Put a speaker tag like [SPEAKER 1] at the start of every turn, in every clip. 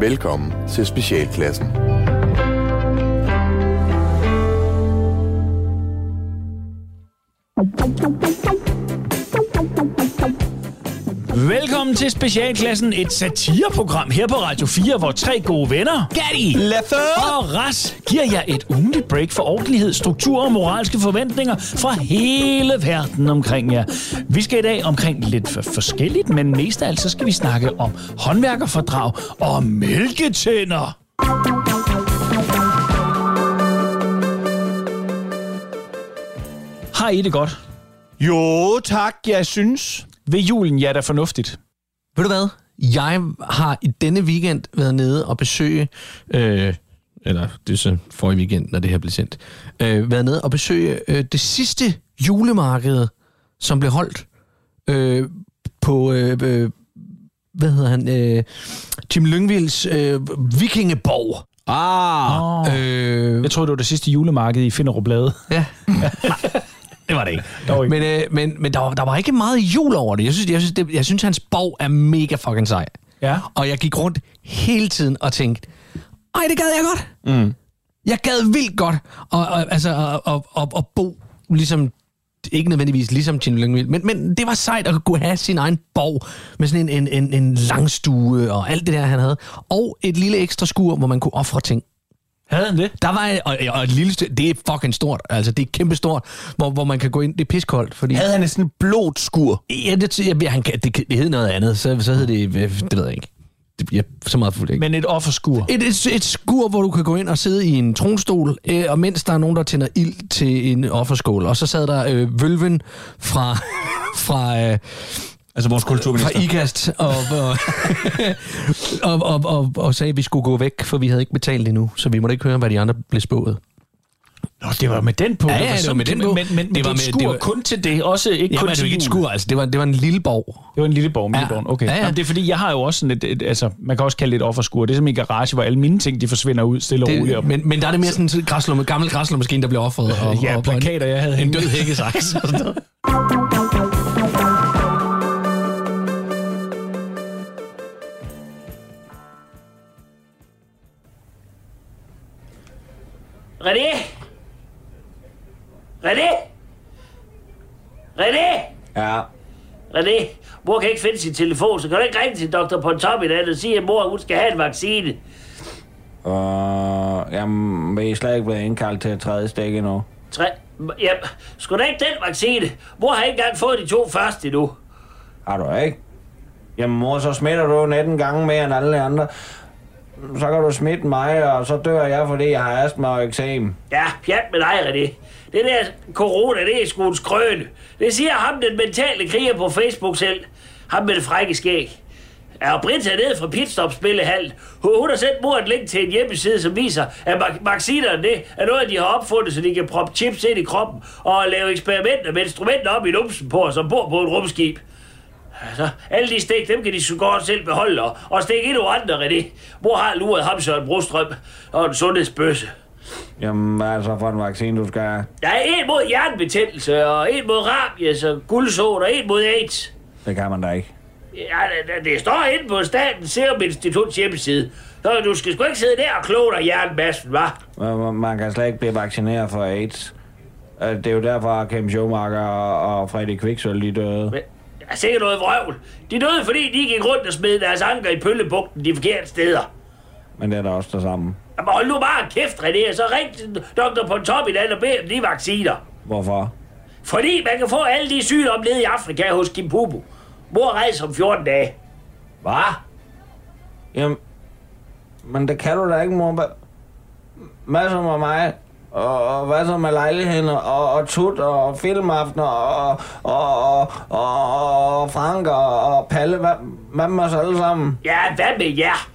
[SPEAKER 1] Velkommen til Specialklassen.
[SPEAKER 2] Velkommen til Specialklassen, et satireprogram her på Radio 4, hvor tre gode venner, Gatti
[SPEAKER 3] Leffe
[SPEAKER 2] og Ras, giver jer et ugenligt break for ordentlighed, struktur og moralske forventninger fra hele verden omkring jer. Vi skal i dag omkring lidt for forskelligt, men mest af alt så skal vi snakke om håndværkerfordrag og mælketænder. Har I det godt?
[SPEAKER 3] Jo tak, jeg synes.
[SPEAKER 2] Ved julen, ja, der er fornuftigt.
[SPEAKER 3] Ved du hvad? Jeg har i denne weekend været nede og besøge, øh, eller det er så for i weekend, når det her bliver sendt, øh, været nede og besøge øh, det sidste julemarked, som blev holdt øh, på, øh, øh, hvad hedder han, øh, Jim Lyngvilds øh, Vikingeborg.
[SPEAKER 2] Åh.
[SPEAKER 3] Ah.
[SPEAKER 2] Oh.
[SPEAKER 3] Øh,
[SPEAKER 2] Jeg troede, det var det sidste julemarked i Finderup Blade.
[SPEAKER 3] ja.
[SPEAKER 2] Det var det ikke. Dog ikke.
[SPEAKER 3] Men, øh, men, men der, var, der var ikke meget jul over det. Jeg synes, jeg synes, det, jeg synes hans bog er mega fucking sej.
[SPEAKER 2] Ja.
[SPEAKER 3] Og jeg gik rundt hele tiden og tænkte, ej, det gad jeg godt. Mm. Jeg gad vildt godt og, og, altså, og, og, og, og bo ligesom, ikke nødvendigvis ligesom Tine Lyngvild, men, men det var sejt at kunne have sin egen borg med sådan en, en, en, en langstue og alt det der, han havde. Og et lille ekstra skur, hvor man kunne ofre ting.
[SPEAKER 2] Havde han det?
[SPEAKER 3] Der var og, og et lille stykke, det er fucking stort, altså det er kæmpestort, hvor, hvor man kan gå ind, det er piskoldt, fordi...
[SPEAKER 4] Havde han et sådan blåt skur?
[SPEAKER 3] Ja, det, jeg, jeg, han kan, det, det hed noget andet, så, så hed det, øh, det ved jeg ikke. Det, jeg, så meget fuldt ikke.
[SPEAKER 2] Men et offerskur.
[SPEAKER 3] Et, et, et skur, hvor du kan gå ind og sidde i en tronstol, øh, og mens der er nogen, der tænder ild til en offerskål. Og så sad der øh, vølven fra, fra, øh,
[SPEAKER 4] Altså vores kulturminister.
[SPEAKER 3] fra IKAST og, og, og, og, og, og sagde, at vi skulle gå væk, for vi havde ikke betalt endnu, så vi måtte ikke høre, hvad de andre blev spået.
[SPEAKER 2] Nå, det var med den på.
[SPEAKER 3] Ja, ja, det var
[SPEAKER 2] sådan-
[SPEAKER 3] med den på.
[SPEAKER 2] Men, men, men det var med, skur det var... kun til det, også ikke kun
[SPEAKER 3] Jamen, det
[SPEAKER 2] til
[SPEAKER 3] var ikke et
[SPEAKER 2] jul.
[SPEAKER 3] skur, altså. Det var, det var en lille borg.
[SPEAKER 2] Det var en lille borg, ja. borg. Okay. Ja,
[SPEAKER 3] Ja,
[SPEAKER 2] ja.
[SPEAKER 3] ja.
[SPEAKER 2] Jamen, det er fordi, jeg har jo også sådan et, et altså, man kan også kalde det et offerskur. Det er som en garage, hvor alle mine ting, de forsvinder ud stille og roligt.
[SPEAKER 3] Det,
[SPEAKER 2] Og, men,
[SPEAKER 3] Oh, men, men der er det mere sådan en græslumme, gammel græslummemaskine, der bliver offret. Og,
[SPEAKER 2] ja,
[SPEAKER 3] og,
[SPEAKER 2] plakater, jeg havde
[SPEAKER 3] og en, en
[SPEAKER 2] hængt.
[SPEAKER 3] død hækkesaks. og sådan noget.
[SPEAKER 5] René! René! René!
[SPEAKER 4] Ja.
[SPEAKER 5] René, mor kan ikke finde sin telefon, så kan du ikke ringe til Dr. Pontop i dag og sige, at mor hun skal have en vaccine?
[SPEAKER 4] Og jamen, vi er slet ikke blevet indkaldt til at træde stik endnu.
[SPEAKER 5] Tre... M- Ja, skulle da ikke den vaccine? Mor har ikke engang fået de to første endnu.
[SPEAKER 4] Har du ikke? Jamen mor, så smitter du 19 gange mere end alle andre. Så kan du smitte mig, og så dør jeg, fordi jeg har astma og eksem.
[SPEAKER 5] Ja, pjat med dig, René. Det der corona, det er sgu en skrøn. Det siger ham, den mentale kriger på Facebook selv. Ham med det frække skæg. Ja, og Britta nede fra Pitstop Spillehallen. Hun, hun har sendt mor et link til en hjemmeside, som viser, at vak- vaccinerne det er noget, de har opfundet, så de kan proppe chips ind i kroppen og lave eksperimenter med instrumenter op i numsen på os ombord på et rumskib. Altså, alle de stik, dem kan de så godt selv beholde, og, og stik endnu andre, René. Mor har luret ham Søren Brostrøm og en sundhedsbøsse.
[SPEAKER 4] Jamen, hvad er det så for en vaccine, du skal have?
[SPEAKER 5] Der er en mod hjernebetændelse, og en mod rabies og guldsot, og en mod AIDS.
[SPEAKER 4] Det kan man da ikke.
[SPEAKER 5] Ja, det- det, det står inde på Statens Serum Instituts hjemmeside. Så du skal sgu ikke sidde der og kloge dig i jernmassen, hva'?
[SPEAKER 4] Man- Man kan slet ikke blive vaccineret for AIDS. Øh, Det er jo derfor, at Kim Schumacher og og Freddy Kviksøl lige døde.
[SPEAKER 5] Men der er sikkert noget vrøvl. De døde, fordi de gik rundt og smed deres anker i pøllebugten de forkerte steder.
[SPEAKER 4] Men det er da også det samme.
[SPEAKER 5] Jamen, hold nu bare kæft, René, og så ring til Dr. Pontop i dag og bed om de vacciner.
[SPEAKER 4] Hvorfor?
[SPEAKER 5] Fordi man kan få alle de sygdomme nede i Afrika hos Kimpubu. Mor rejser om 14 dage.
[SPEAKER 4] Hvad? Jamen, men det kan du da ikke, mor. Hva- Hvad så med mig? Og, og hvad så med lejligheden? Og, og tut og filmaftener og, og, og, og, og Frank og, og Palle? Hvad, hvad med os alle sammen?
[SPEAKER 5] Ja, hvad med jer?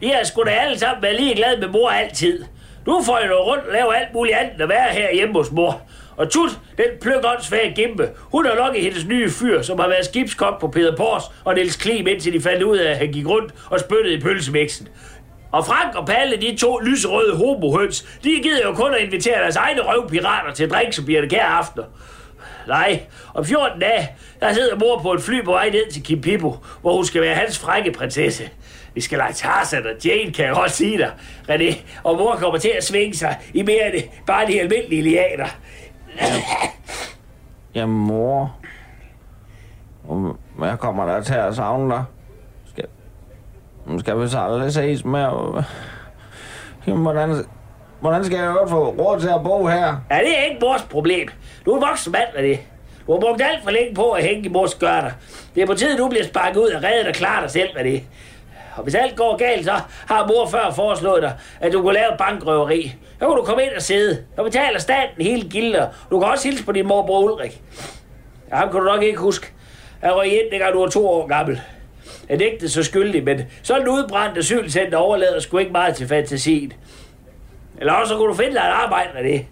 [SPEAKER 5] I har sgu da alle sammen været ligeglade med mor altid. Nu får jeg rundt og lave alt muligt andet at være her hjemme hos mor. Og Tut, den pløkåndsfag gimpe, hun har nok i hendes nye fyr, som har været skibskok på Peter Pors og Niels Klim, indtil de fandt ud af, at han gik rundt og spyttede i pølsemiksen. Og Frank og Palle, de to lyserøde homohøns, de gider jo kun at invitere deres egne røvpirater til drinks og birte kære aftener. Nej, om 14 dage, der sidder mor på et fly på vej ned til Kimpibo, hvor hun skal være hans frække prinsesse. Vi skal lege Tarzan og Jane, kan jeg godt sige dig, René. Og mor kommer til at svinge sig i mere end bare de almindelige lianer.
[SPEAKER 4] Ja, mor. Om- Hvad kommer der til at savne dig? Skal, skal vi så aldrig ses mere? Jamen, hvordan, hvordan skal jeg i øvrigt få råd til at bo her?
[SPEAKER 5] Ja, det er ikke mors problem. Du er en voksen mand, René. Du har brugt alt for længe på at hænge i mors skørter. Det er på tide, du bliver sparket ud af reddet og klarer dig selv, René. Og hvis alt går galt, så har mor før foreslået dig, at du kunne lave bankrøveri. Så kunne du komme ind og sidde. Så betaler staten hele gilder. Du kan også hilse på din morbror Ulrik. Ja, ham kan du nok ikke huske. Han røg ind, dengang du var to år gammel. Han ægte så skyldig, men sådan en udbrændt asylcenter overlader sgu ikke meget til fantasien. Eller også så kunne du finde dig et arbejde med det.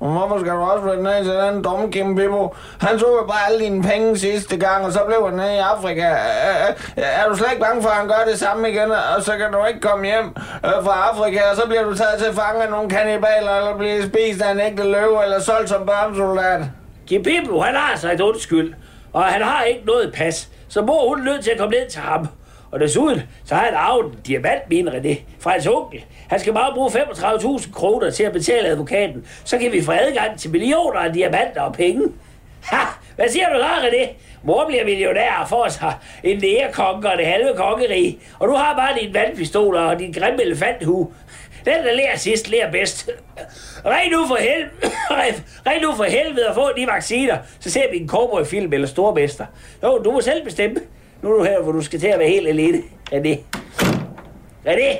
[SPEAKER 4] Og hvorfor skal du også flytte ned til den dumme Kim Bibbo? Han tog jo bare alle dine penge sidste gang, og så blev han nede i Afrika. Øh, øh, Er du slet ikke bange for, at han gør det samme igen, og så kan du ikke komme hjem øh, fra Afrika, og så bliver du taget til fange af nogle kannibaler, eller bliver spist af en ægte løve, eller solgt som børnesoldat?
[SPEAKER 5] Gebiblo, han har sig et undskyld, og han har ikke noget pas, så mor hun er nødt til at komme ned til ham. Og desuden, så har han arvet en diamantmine, René, fra hans onkel. Han skal bare bruge 35.000 kroner til at betale advokaten. Så kan vi få adgang til millioner af diamanter og penge. Ha! Hvad siger du så, René? Mor bliver millionær og får sig en nærekonge og det halve kongerige. Og du har bare dine vandpistoler og din grimme elefanthue. Den, der lærer sidst, lærer bedst. Ren nu for helvede, ren nu for helvede og få de vacciner, så ser vi en cowboyfilm eller stormester. Jo, du må selv bestemme. Nu er du her, hvor du skal til at være helt alene. René. René!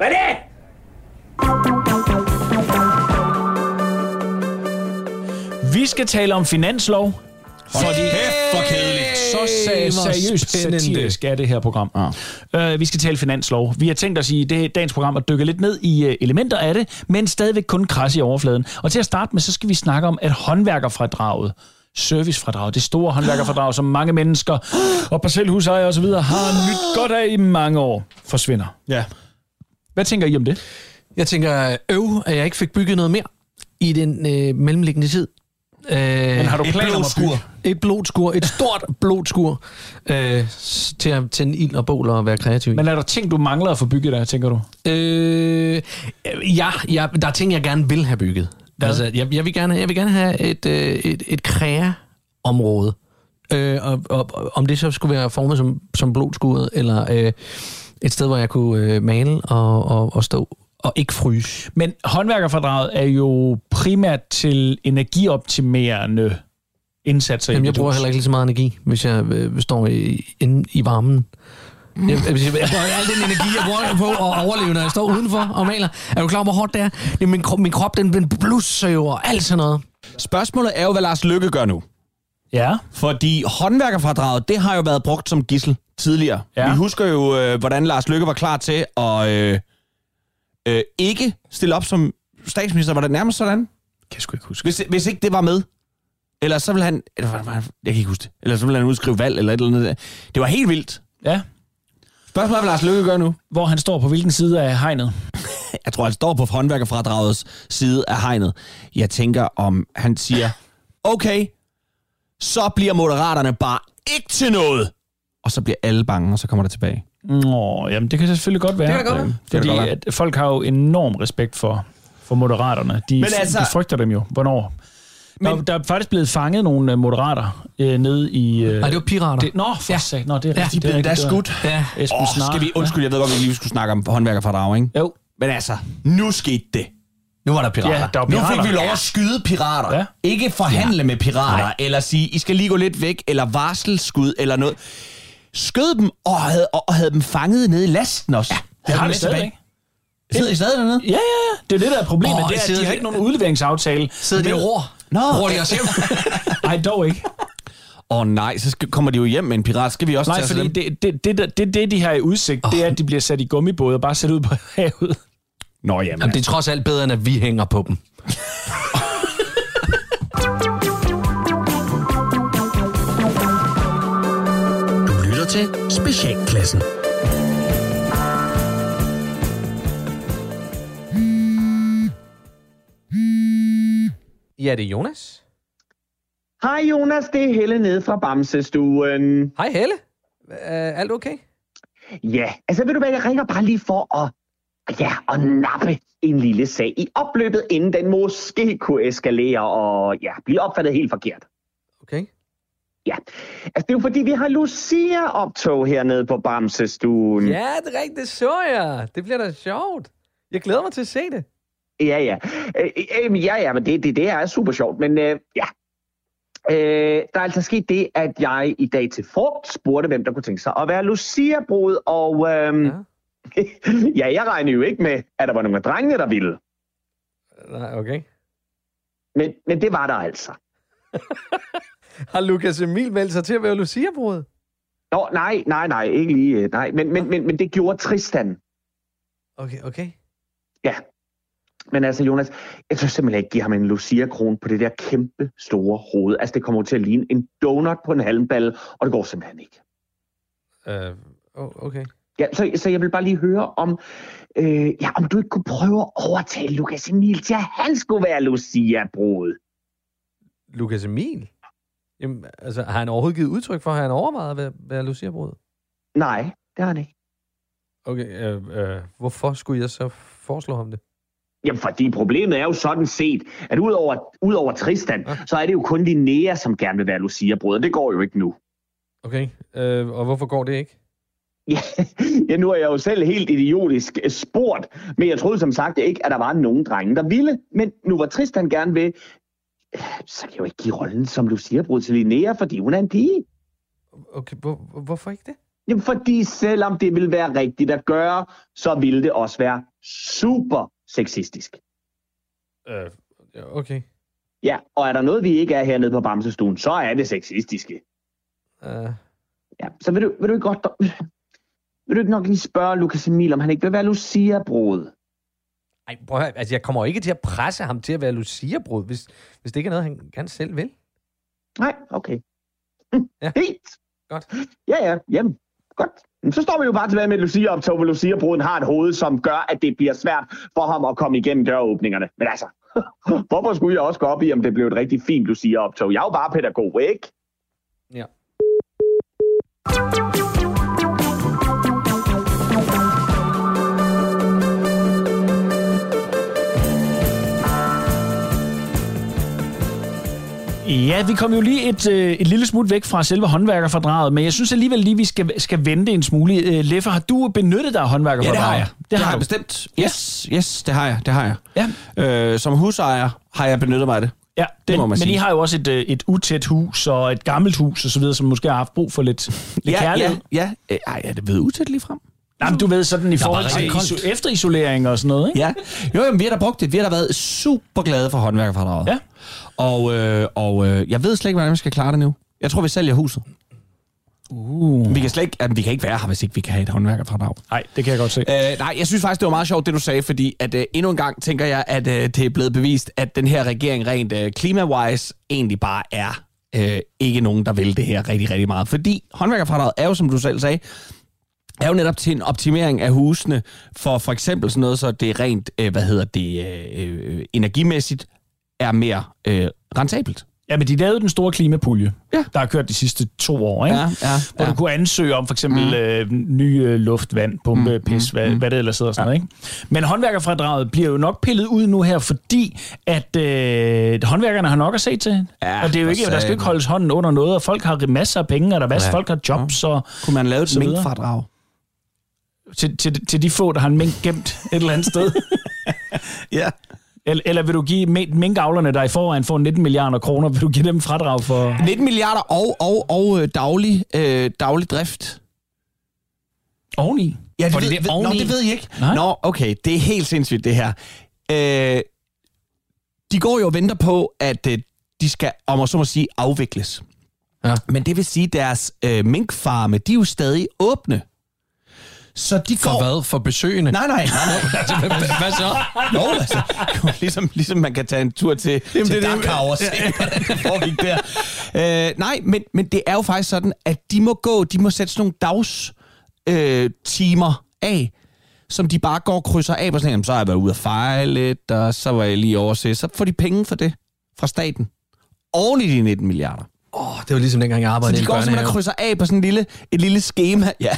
[SPEAKER 5] René!
[SPEAKER 2] Vi skal tale om finanslov. Fordi
[SPEAKER 6] Kæft, hvor kedeligt.
[SPEAKER 2] så
[SPEAKER 3] Hey, hvor
[SPEAKER 2] sa- seriøst
[SPEAKER 3] spændende.
[SPEAKER 2] satirisk er det her program. Ja. Uh, vi skal tale finanslov. Vi har tænkt os i det, dagens program at dykke lidt ned i uh, elementer af det, men stadigvæk kun krasse i overfladen. Og til at starte med, så skal vi snakke om, at håndværkerfradraget servicefradrag, det store håndværkerfradrag, som mange mennesker og parcelhusejere osv. har nyt godt af i mange år, forsvinder.
[SPEAKER 6] Ja.
[SPEAKER 2] Hvad tænker I om det?
[SPEAKER 3] Jeg tænker, øv, at jeg ikke fik bygget noget mere i den øh, mellemliggende tid. Øh,
[SPEAKER 2] Men har du
[SPEAKER 6] Et
[SPEAKER 2] planer om at bygge?
[SPEAKER 6] blodskur.
[SPEAKER 3] Et blodskur, et stort blodskur, øh, s- til at tænde ild og bål og være kreativ i.
[SPEAKER 2] Men er der ting, du mangler at få bygget der, tænker du?
[SPEAKER 3] Øh, ja, ja, der er ting, jeg gerne vil have bygget. Altså, jeg, jeg, vil gerne, jeg vil gerne have et, øh, et, et kræa-område. Øh, og, og, og, om det så skulle være formet som, som blodskuret, eller øh, et sted, hvor jeg kunne øh, male og, og, og stå og ikke fryse.
[SPEAKER 2] Men håndværkerfordraget er jo primært til energioptimerende indsatser. i
[SPEAKER 3] Jamen, jeg
[SPEAKER 2] dit
[SPEAKER 3] bruger
[SPEAKER 2] hus.
[SPEAKER 3] heller ikke lige så meget energi, hvis jeg øh, står i, inde i varmen. Jeg, jeg, jeg, jeg bruger al den energi, jeg bruger på at overleve, når jeg står udenfor og maler. Er du klar over, hvor hårdt det er? Det er min, krop, min krop, den, den blusser jo og alt sådan noget.
[SPEAKER 6] Spørgsmålet er jo, hvad Lars Lykke gør nu.
[SPEAKER 2] Ja,
[SPEAKER 6] Fordi håndværkerfradraget, det har jo været brugt som gissel tidligere.
[SPEAKER 2] Ja.
[SPEAKER 6] Ja. Vi husker jo, øh, hvordan Lars Lykke var klar til at øh, øh, ikke stille op som statsminister. Var det nærmest sådan?
[SPEAKER 2] kan jeg sgu ikke huske.
[SPEAKER 6] Hvis, hvis ikke det var med. Eller så ville han... Eller, var- var- jeg kan ikke huske det. Eller så ville han udskrive valg eller et eller andet. Det var helt vildt.
[SPEAKER 2] Ja,
[SPEAKER 6] Spørgsmålet er, hvad Lars Lykke gør nu.
[SPEAKER 2] hvor han står på hvilken side af hegnet.
[SPEAKER 6] Jeg tror, han står på håndværkerfradragets side af hegnet. Jeg tænker, om han siger, okay, så bliver moderaterne bare ikke til noget. Og så bliver alle bange, og så kommer det tilbage.
[SPEAKER 2] Nå, jamen det kan selvfølgelig godt være. Det kan godt være.
[SPEAKER 6] kan
[SPEAKER 2] Fordi
[SPEAKER 6] godt være.
[SPEAKER 2] at folk har jo enorm respekt for, for moderaterne. De,
[SPEAKER 6] Men
[SPEAKER 2] altså,
[SPEAKER 6] altså-
[SPEAKER 2] de frygter dem jo. Hvornår? Men, der, der er faktisk blevet fanget nogle øh, moderater øh, nede i... Øh,
[SPEAKER 3] Nej, det var pirater.
[SPEAKER 2] det, nå, for ja. sag, nå, det er rigtigt. det
[SPEAKER 6] de
[SPEAKER 2] er
[SPEAKER 6] blev endda
[SPEAKER 2] rigtigt, det var-
[SPEAKER 6] skudt.
[SPEAKER 3] Ja.
[SPEAKER 2] Esben
[SPEAKER 6] Åh,
[SPEAKER 2] Snare.
[SPEAKER 6] skal vi, undskyld, jeg ved godt, vi lige skulle snakke om håndværkerfradrag, ikke?
[SPEAKER 2] Jo,
[SPEAKER 6] Men altså, nu skete det.
[SPEAKER 3] Nu var der pirater.
[SPEAKER 2] ja, der var
[SPEAKER 6] Nu
[SPEAKER 2] pirater.
[SPEAKER 6] fik vi lov at skyde pirater.
[SPEAKER 2] Ja.
[SPEAKER 6] Ja. Ikke forhandle ja. med pirater, Nej. eller sige, I skal lige gå lidt væk, eller varselsskud, eller noget. Skød dem, og havde, og havde dem fanget nede i lasten også. Ja,
[SPEAKER 2] Det har vi stadigvæk.
[SPEAKER 6] Sidder I stadig dernede?
[SPEAKER 2] Ja, ja, ja. Det er jo det, der er problemet.
[SPEAKER 3] Åh,
[SPEAKER 2] Oh, det er, at
[SPEAKER 3] sidder
[SPEAKER 2] de har
[SPEAKER 3] de-
[SPEAKER 2] ikke nogen udleveringsaftale.
[SPEAKER 3] Sidder de og roer?
[SPEAKER 6] Nå.
[SPEAKER 3] Roer de os hjem?
[SPEAKER 2] Nej, dog ikke.
[SPEAKER 6] Åh oh, nej, så skal, kommer de jo hjem med en pirat. Skal vi også
[SPEAKER 2] Nej,
[SPEAKER 6] tage
[SPEAKER 2] fordi
[SPEAKER 6] dem?
[SPEAKER 2] det, det, det, der- det, det, de har i udsigt, oh. det er, at de bliver sat i gummibåde og bare sat ud på havet.
[SPEAKER 6] Nå jamen.
[SPEAKER 3] Jamen, det er trods alt bedre, end at vi hænger på dem.
[SPEAKER 7] Du lytter til Specialklassen.
[SPEAKER 3] Ja, det er Jonas.
[SPEAKER 8] Hej Jonas, det er Helle nede fra Bamsestuen.
[SPEAKER 3] Hej Helle. Uh, alt okay?
[SPEAKER 8] Ja, altså ved du hvad, jeg ringer bare lige for at, ja, at nappe en lille sag i opløbet, inden den måske kunne eskalere og ja, blive opfattet helt forkert.
[SPEAKER 3] Okay.
[SPEAKER 8] Ja, altså det er jo fordi, vi har Lucia-optog hernede på Bamsestuen.
[SPEAKER 3] Ja, det er rigtigt, det så jeg. Det bliver da sjovt. Jeg glæder mig til at se det.
[SPEAKER 8] Ja, ja. Øh, øh, ja, ja, men det, det, det er super sjovt. Men øh, ja, øh, der er altså sket det, at jeg i dag til frugt spurgte, hvem der kunne tænke sig at være Lucia-brud, og øh, ja.
[SPEAKER 3] Ja.
[SPEAKER 8] ja, jeg regnede jo ikke med, at der var nogle af drengene, der ville.
[SPEAKER 3] Nej, okay.
[SPEAKER 8] Men, men det var der altså.
[SPEAKER 3] Har Lukas Emil meldt sig til at være Lucia-brud?
[SPEAKER 8] Nå, nej, nej, nej, ikke lige, øh, nej. Men, men, men, men det gjorde Tristan.
[SPEAKER 3] Okay, okay.
[SPEAKER 8] Ja. Men altså, Jonas, jeg tør simpelthen ikke give ham en Lucia-kron på det der kæmpe store hoved. Altså, det kommer jo til at ligne en donut på en halmballe, og det går simpelthen ikke.
[SPEAKER 3] Uh, oh, okay.
[SPEAKER 8] Ja, så, så jeg vil bare lige høre om, øh, ja, om du ikke kunne prøve at overtale Lukas Emil til, at han skulle være Lucia-brud.
[SPEAKER 3] Lukas Emil? Jamen, altså, har han overhovedet givet udtryk for, at han overvejet at være, være Lucia-brud?
[SPEAKER 8] Nej, det har han ikke.
[SPEAKER 3] Okay, øh, øh, hvorfor skulle jeg så foreslå ham det?
[SPEAKER 8] Jamen, fordi problemet er jo sådan set, at udover, udover Tristan,
[SPEAKER 3] Ja.
[SPEAKER 8] så er det jo kun Linnea, som gerne vil være Lucia-brud, og det går jo ikke nu.
[SPEAKER 3] Okay, øh, og hvorfor går det ikke?
[SPEAKER 8] Ja, ja, nu er jeg jo selv helt idiotisk øh, spurgt, men jeg troede som sagt ikke, at der var nogen drenge, der ville. Men nu var Tristan gerne ved, øh, så kan jeg jo ikke give rollen som Lucia-brud til Linnea, fordi hun er en pige.
[SPEAKER 3] Okay, hvor, hvor- hvorfor ikke det?
[SPEAKER 8] Jamen, fordi selvom det ville være rigtigt at gøre, så ville det også være super sexistisk.
[SPEAKER 3] Øh, ja, okay.
[SPEAKER 8] Ja, og er der noget, vi ikke er hernede på Bamsestuen, så er det sexistiske.
[SPEAKER 3] Øh,
[SPEAKER 8] Ja, så vil du, vil du ikke godt... Vil du ikke nok lige spørge Lukas Emil, om han ikke vil være Lucia-brud?
[SPEAKER 3] ej, prøv at, høre, altså, jeg kommer jo ikke til at presse ham til at være Lucia-brud, hvis, hvis det ikke er noget, han gerne selv vil.
[SPEAKER 8] Nej, okay.
[SPEAKER 3] Ja.
[SPEAKER 8] Ja. Helt.
[SPEAKER 3] Godt.
[SPEAKER 8] Ja, ja, jamen, godt. Jamen, Så står vi jo bare tilbage med et Lucia-optog, hvor Lucia-bruden har et hoved, som gør, at det bliver svært for ham at komme igennem døråbningerne. Men altså, hvorfor skulle jeg også gå op i, om det blev et rigtig fint Lucia-optog? Jeg er jo bare pædagog, ikke?
[SPEAKER 3] Ja.
[SPEAKER 2] Ja, vi kom jo lige et, øh, et lille smut væk fra selve håndværkerfordraget, men jeg synes alligevel lige, vi skal, skal vente en smule. Øh, Leffe, har du benyttet dig af håndværkerfordraget?
[SPEAKER 6] Det, har
[SPEAKER 2] har
[SPEAKER 6] jeg
[SPEAKER 2] du.
[SPEAKER 6] bestemt. Yes, yes, det har jeg. Det har jeg.
[SPEAKER 2] Ja.
[SPEAKER 6] Øh, som husejer har jeg benyttet mig af det.
[SPEAKER 2] Ja,
[SPEAKER 6] Det
[SPEAKER 2] men,
[SPEAKER 6] må man
[SPEAKER 2] men
[SPEAKER 6] sige.
[SPEAKER 2] I har jo også et, øh, et utæt hus og et gammelt hus og så videre, som måske har haft brug for lidt, lidt
[SPEAKER 6] ja,
[SPEAKER 2] kærlighed.
[SPEAKER 6] ja, ja. Øh, Ej, er det blevet utæt lige frem?
[SPEAKER 2] Nej, men du ved sådan i forhold
[SPEAKER 6] bare
[SPEAKER 2] til
[SPEAKER 6] rigtig koldt.
[SPEAKER 2] iso- efterisolering og sådan noget, ikke?
[SPEAKER 6] Ja. Jo, jamen, vi har da brugt det. Vi har da været super glade for håndværkerfradraget.
[SPEAKER 2] Ja.
[SPEAKER 6] Og, øh, og øh, jeg ved slet ikke, hvordan vi skal klare det nu. Jeg tror, vi sælger huset. Uh. Vi, kan slet ikke, jamen, vi kan ikke være her, hvis ikke vi kan have et håndværkerfradrag.
[SPEAKER 2] Nej, det kan jeg godt se.
[SPEAKER 6] Øh, nej, jeg synes faktisk, det var meget sjovt, det du sagde, fordi at, øh, endnu en gang tænker jeg, at øh, det er blevet bevist, at den her regering rent øh, klimawise egentlig bare er øh, ikke nogen, der vil det her rigtig, rigtig meget. Fordi håndværkerfradraget er jo, som du selv sagde, er jo netop til en optimering af husene for for eksempel sådan noget, så det er rent, øh, hvad hedder det, øh, øh, energimæssigt er mere øh, rentabelt.
[SPEAKER 2] Ja, men de lavede den store klimapulje,
[SPEAKER 6] Ja.
[SPEAKER 2] der har kørt de sidste to år, ikke?
[SPEAKER 6] Ja, ja,
[SPEAKER 2] hvor
[SPEAKER 6] ja.
[SPEAKER 2] du kunne ansøge om for eksempel mm. øh, ny øh, luft, vand, pumpe, mm, pis, hvad, mm. hvad det ellers hedder. og Sådan noget, ikke? Men håndværkerfradraget bliver jo nok pillet ud nu her, fordi at øh, håndværkerne har nok at se til.
[SPEAKER 6] Ja,
[SPEAKER 2] og det er jo
[SPEAKER 6] for
[SPEAKER 2] ikke, der skal
[SPEAKER 6] satan.
[SPEAKER 2] ikke holdes hånden under noget, og folk har masser af penge, og der er masser,
[SPEAKER 6] Ja.
[SPEAKER 2] folk har jobs, og
[SPEAKER 6] Kunne man lave et
[SPEAKER 2] Så videre.
[SPEAKER 6] minkfradrag?
[SPEAKER 2] til, til, til de få, der har en mink gemt et eller andet sted.
[SPEAKER 6] Ja.
[SPEAKER 2] Eller, eller vil du give mink- minkavlerne, der i forvejen får 19 milliarder kroner, vil du give dem fradrag for...
[SPEAKER 6] 19 milliarder og, og, og øh, daglig, øh, daglig drift.
[SPEAKER 2] Oveni.
[SPEAKER 6] Ja, det,
[SPEAKER 2] Fordi
[SPEAKER 6] ved,
[SPEAKER 2] det er
[SPEAKER 6] ved, nå,
[SPEAKER 2] oveni.
[SPEAKER 6] det ved jeg ikke.
[SPEAKER 2] Nej.
[SPEAKER 6] Nå, okay, det er helt sindssygt, det her. Øh, de går jo og venter på, at øh, de skal, om og så må sige, afvikles.
[SPEAKER 3] Ja.
[SPEAKER 6] Men det vil sige, at deres øh, minkfarme, de er jo stadig åbne. Så de
[SPEAKER 3] For
[SPEAKER 6] går...
[SPEAKER 3] hvad? For besøgende? Altså,
[SPEAKER 6] Nej, nej, nej, nej.
[SPEAKER 3] Hvad så?
[SPEAKER 6] Jo, altså, ligesom, ligesom man kan tage en tur til, Jamen, til
[SPEAKER 3] det er
[SPEAKER 6] det,
[SPEAKER 3] det.
[SPEAKER 6] Dakar og se, hvordan det foregik der. Øh, nej, men, men det er jo faktisk sådan, at de må gå, de må sætte sådan nogle dags øh, timer af, som de bare går og krydser af på sådan, en, "Jamen, så har jeg været ude at fejle lidt, og så var jeg lige over at se, så får de penge for det. fra staten. Oven i de 19 milliarder.
[SPEAKER 3] Åh, det var ligesom dengang, jeg
[SPEAKER 6] Så
[SPEAKER 3] arbejdede
[SPEAKER 6] de
[SPEAKER 3] i
[SPEAKER 6] går
[SPEAKER 3] en
[SPEAKER 6] simpelthen
[SPEAKER 3] børnehave.
[SPEAKER 6] og krydser af på sådan en lille, et lille schema. Ja.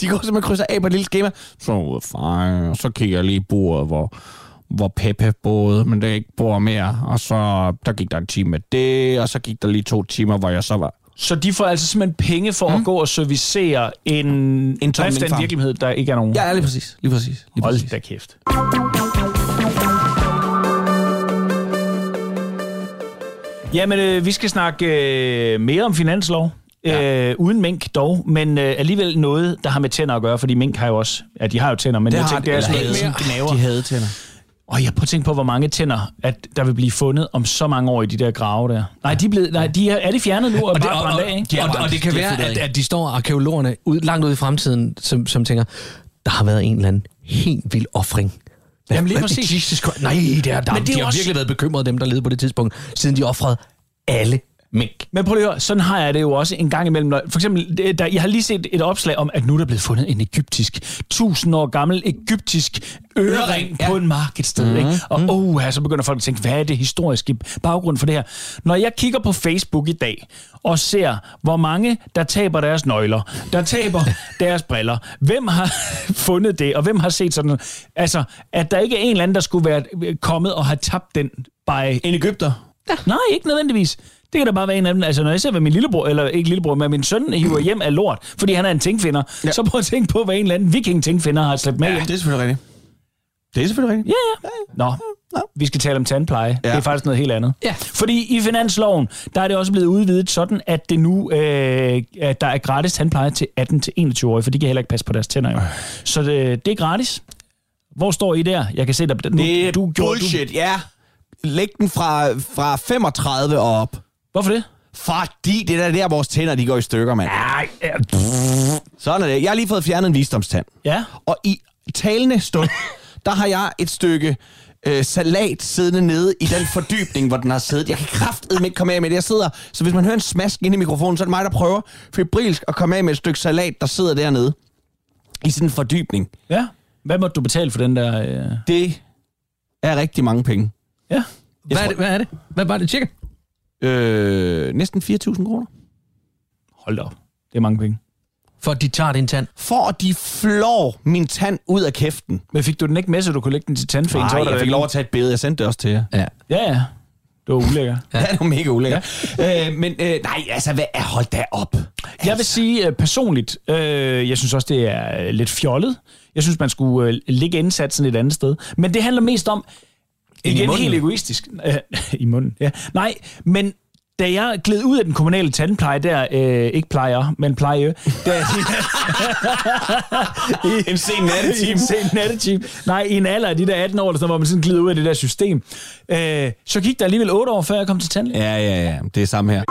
[SPEAKER 6] de går simpelthen og krydser af på et lille schema. Så ud af far, og så kigger jeg lige i bordet, hvor, hvor Peppe boede, men der ikke bor mere. Og så der gik der en time med det, og så gik der lige to timer, hvor jeg så var...
[SPEAKER 2] Så de får altså simpelthen penge for mm. at gå og servicere en, en
[SPEAKER 6] tom
[SPEAKER 2] drift af en
[SPEAKER 6] minkfarm.
[SPEAKER 2] virksomhed, der ikke er nogen.
[SPEAKER 6] Ja, lige præcis. Lige præcis. Lige præcis.
[SPEAKER 2] Hold da kæft. Jamen, øh, vi skal snakke øh, mere om finanslov. Ja. Øh, uden mink dog, men øh, alligevel noget, der har med tænder at gøre, fordi mink har jo også... Ja, de har jo tænder, men det jeg tænkte, det er sådan noget, sådan gnaver.
[SPEAKER 6] De havde tænder.
[SPEAKER 2] Og jeg prøver at tænke på, hvor mange tænder, at der vil blive fundet om så mange år i de der grave der. Nej, de er, blevet, nej, de er, er de fjernet nu og, og
[SPEAKER 3] Og det,
[SPEAKER 2] bare
[SPEAKER 3] og, og,
[SPEAKER 2] brændt af, ikke?
[SPEAKER 3] og, og, og det kan være, at, at de står arkeologerne ud, langt ude i fremtiden, som, som tænker, der har været en eller anden helt vild offring. Hvad-
[SPEAKER 2] Jamen, lige
[SPEAKER 3] hvad-
[SPEAKER 2] præcis.
[SPEAKER 3] Jesus Christ. Nej, det er, der,
[SPEAKER 2] Men det
[SPEAKER 3] de
[SPEAKER 2] er
[SPEAKER 3] har
[SPEAKER 2] jo også-
[SPEAKER 3] virkelig været bekymrede, dem der levede på det tidspunkt, siden de offrede alle mink.
[SPEAKER 2] Men prøv lige at høre, sådan har jeg det jo også en gang imellem. Når, for eksempel, det- der, jeg har lige set et opslag om, at nu er der blevet fundet en egyptisk, tusind år gammel egyptisk ørering ja. på en markedsted. Mm-hmm. Ikke? Og oh, så begynder folk at tænke, hvad er det historiske baggrund for det her? Når jeg kigger på Facebook i dag og ser, hvor mange der taber deres nøgler, der taber deres briller, hvem har fundet det, og hvem har set sådan Altså, at der ikke er en eller anden, der skulle være øh, kommet og have tabt den by
[SPEAKER 6] En Ægypter.
[SPEAKER 2] Nej, ikke nødvendigvis. Det kan da bare være en af dem. Altså, når jeg ser, hvad min lillebror, eller ikke lillebror, men min søn hiver hjem af lort, fordi han er en tingfinder, ja. så prøv at tænke på, hvad en eller anden viking-tingfinder har slæbt med ja. hjem.
[SPEAKER 6] det er selvfølgelig rigtigt. Det er selvfølgelig rigtigt.
[SPEAKER 2] Ja, ja. Nå, vi skal tale om tandpleje. Ja. Det er faktisk noget helt andet.
[SPEAKER 3] Ja.
[SPEAKER 2] Fordi i finansloven, der er det også blevet udvidet sådan, at det nu øh, at der er gratis tandpleje til 18-21-årige, for de kan heller ikke passe på deres tænder. Jo. Så det, det er gratis. Hvor står I der? Jeg kan se, der... nu-
[SPEAKER 6] Det er du
[SPEAKER 2] gjorde-
[SPEAKER 6] bullshit, du... ja. Læg den fra, fra 35 og op.
[SPEAKER 2] Hvorfor det?
[SPEAKER 6] Fordi det er der, vores tænder de går i stykker, mand.
[SPEAKER 2] Ej, ja.
[SPEAKER 6] Sådan er det. Jeg har lige fået fjernet en visdomstand.
[SPEAKER 2] ja.
[SPEAKER 6] Og i talende stund, der har jeg et stykke øh, salat siddende nede i den fordybning, hvor den har siddet. Jeg kan kraftedeme ikke komme af med det. Jeg sidder, så hvis man hører en smask ind i mikrofonen, så er det mig, der prøver febrilsk at komme af med et stykke salat, der sidder dernede. I sådan en fordybning.
[SPEAKER 2] Ja. Hvad måtte du betale for den der... Øh...
[SPEAKER 6] Det er rigtig mange penge.
[SPEAKER 2] Ja.
[SPEAKER 3] Hvad er, det, hvad er det? Hvad var det, cirka?
[SPEAKER 6] Øh, næsten 4.000 kroner.
[SPEAKER 2] Hold da op. Det er mange penge.
[SPEAKER 3] For at de tager din tand.
[SPEAKER 6] For at de flår min tand ud af kæften.
[SPEAKER 2] Men fik du den ikke med, så du kunne lægge den til tandfæn?
[SPEAKER 6] Nej, jeg fik lov at tage et billede. Jeg sendte det også til jer.
[SPEAKER 3] Ja.
[SPEAKER 2] Ja, ja. Det var ulækker.
[SPEAKER 6] Ja, det var mega ulækkert. Ja. Øh, men øh, nej, altså, hvad er, hold da op.
[SPEAKER 2] Jeg
[SPEAKER 6] Altså.
[SPEAKER 2] vil sige uh, personligt, øh, jeg synes også, det er øh, lidt fjollet. Jeg synes, man skulle øh, lægge indsatsen et andet sted. Men det handler mest om, igen
[SPEAKER 6] munden.
[SPEAKER 2] helt egoistisk, øh, i munden, ja. Nej, men da jeg gled ud af den kommunale tandpleje der, øh, ikke plejer, men pleje, da,
[SPEAKER 6] En sen
[SPEAKER 2] I en sen nattetime. Nej, i en alder af de der 18 år, eller sådan, hvor man sådan glider ud af det der system. Øh, så gik der alligevel 8 år, før jeg kom til tandlæge.
[SPEAKER 6] Ja, ja, ja. Det er samme her.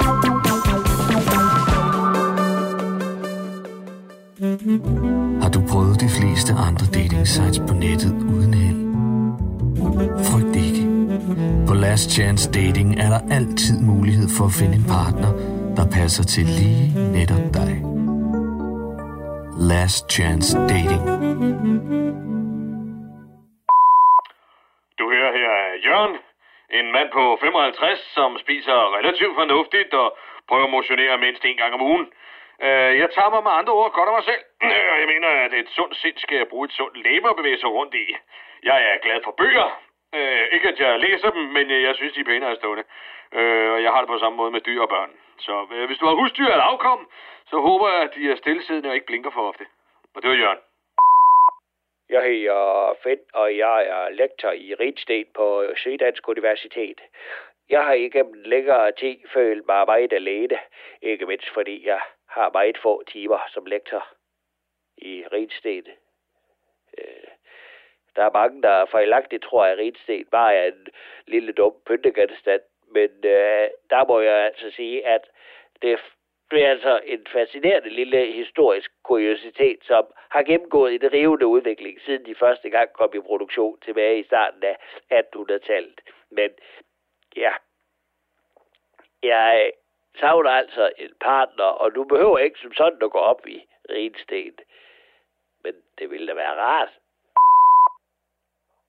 [SPEAKER 9] Har du prøvet de fleste andre dating sites på nettet uden held? Frygt ikke. På Last Chance Dating er der altid mulighed for at finde en partner, der passer til lige netop dig. Last Chance Dating.
[SPEAKER 10] Du hører her Jørgen, en mand på 55, som spiser relativt fornuftigt og prøver at motionere mindst en gang om ugen. Øh, Jeg tager mig med andre ord godt af mig selv, Øh, og jeg mener, at et sundt sind skal jeg bruge et sundt læber at bevæge sig rundt i. Jeg er glad for bøger. Øh, Ikke at jeg læser dem, men øh, jeg synes, de er pænere at stående. Øh, Og jeg har det på samme måde med dyr og børn. Så øh, hvis du har husdyr eller afkom, så håber jeg, at de er stillesiddende og ikke blinker for ofte. Og det var Jørgen.
[SPEAKER 5] Jeg hedder Finn, og jeg er lektor i Ridsten på Syddansk Universitet. Jeg har igennem længere tid følt mig meget alene, ikke mindst fordi jeg har meget få timer som lektor i Ridsten. Øh, Der er mange, der fejlagtigt tror, at Ridsten bare er en lille dum pyntegenstand, men øh, der må jeg altså sige, at det det er altså en fascinerende lille historisk kuriositet, som har gennemgået en rivende udvikling, siden de første gang kom i produktion tilbage i starten af 1800-tallet. Men ja, jeg savner altså en partner, og du behøver ikke som sådan at gå op i rensten. Men det ville da være rart.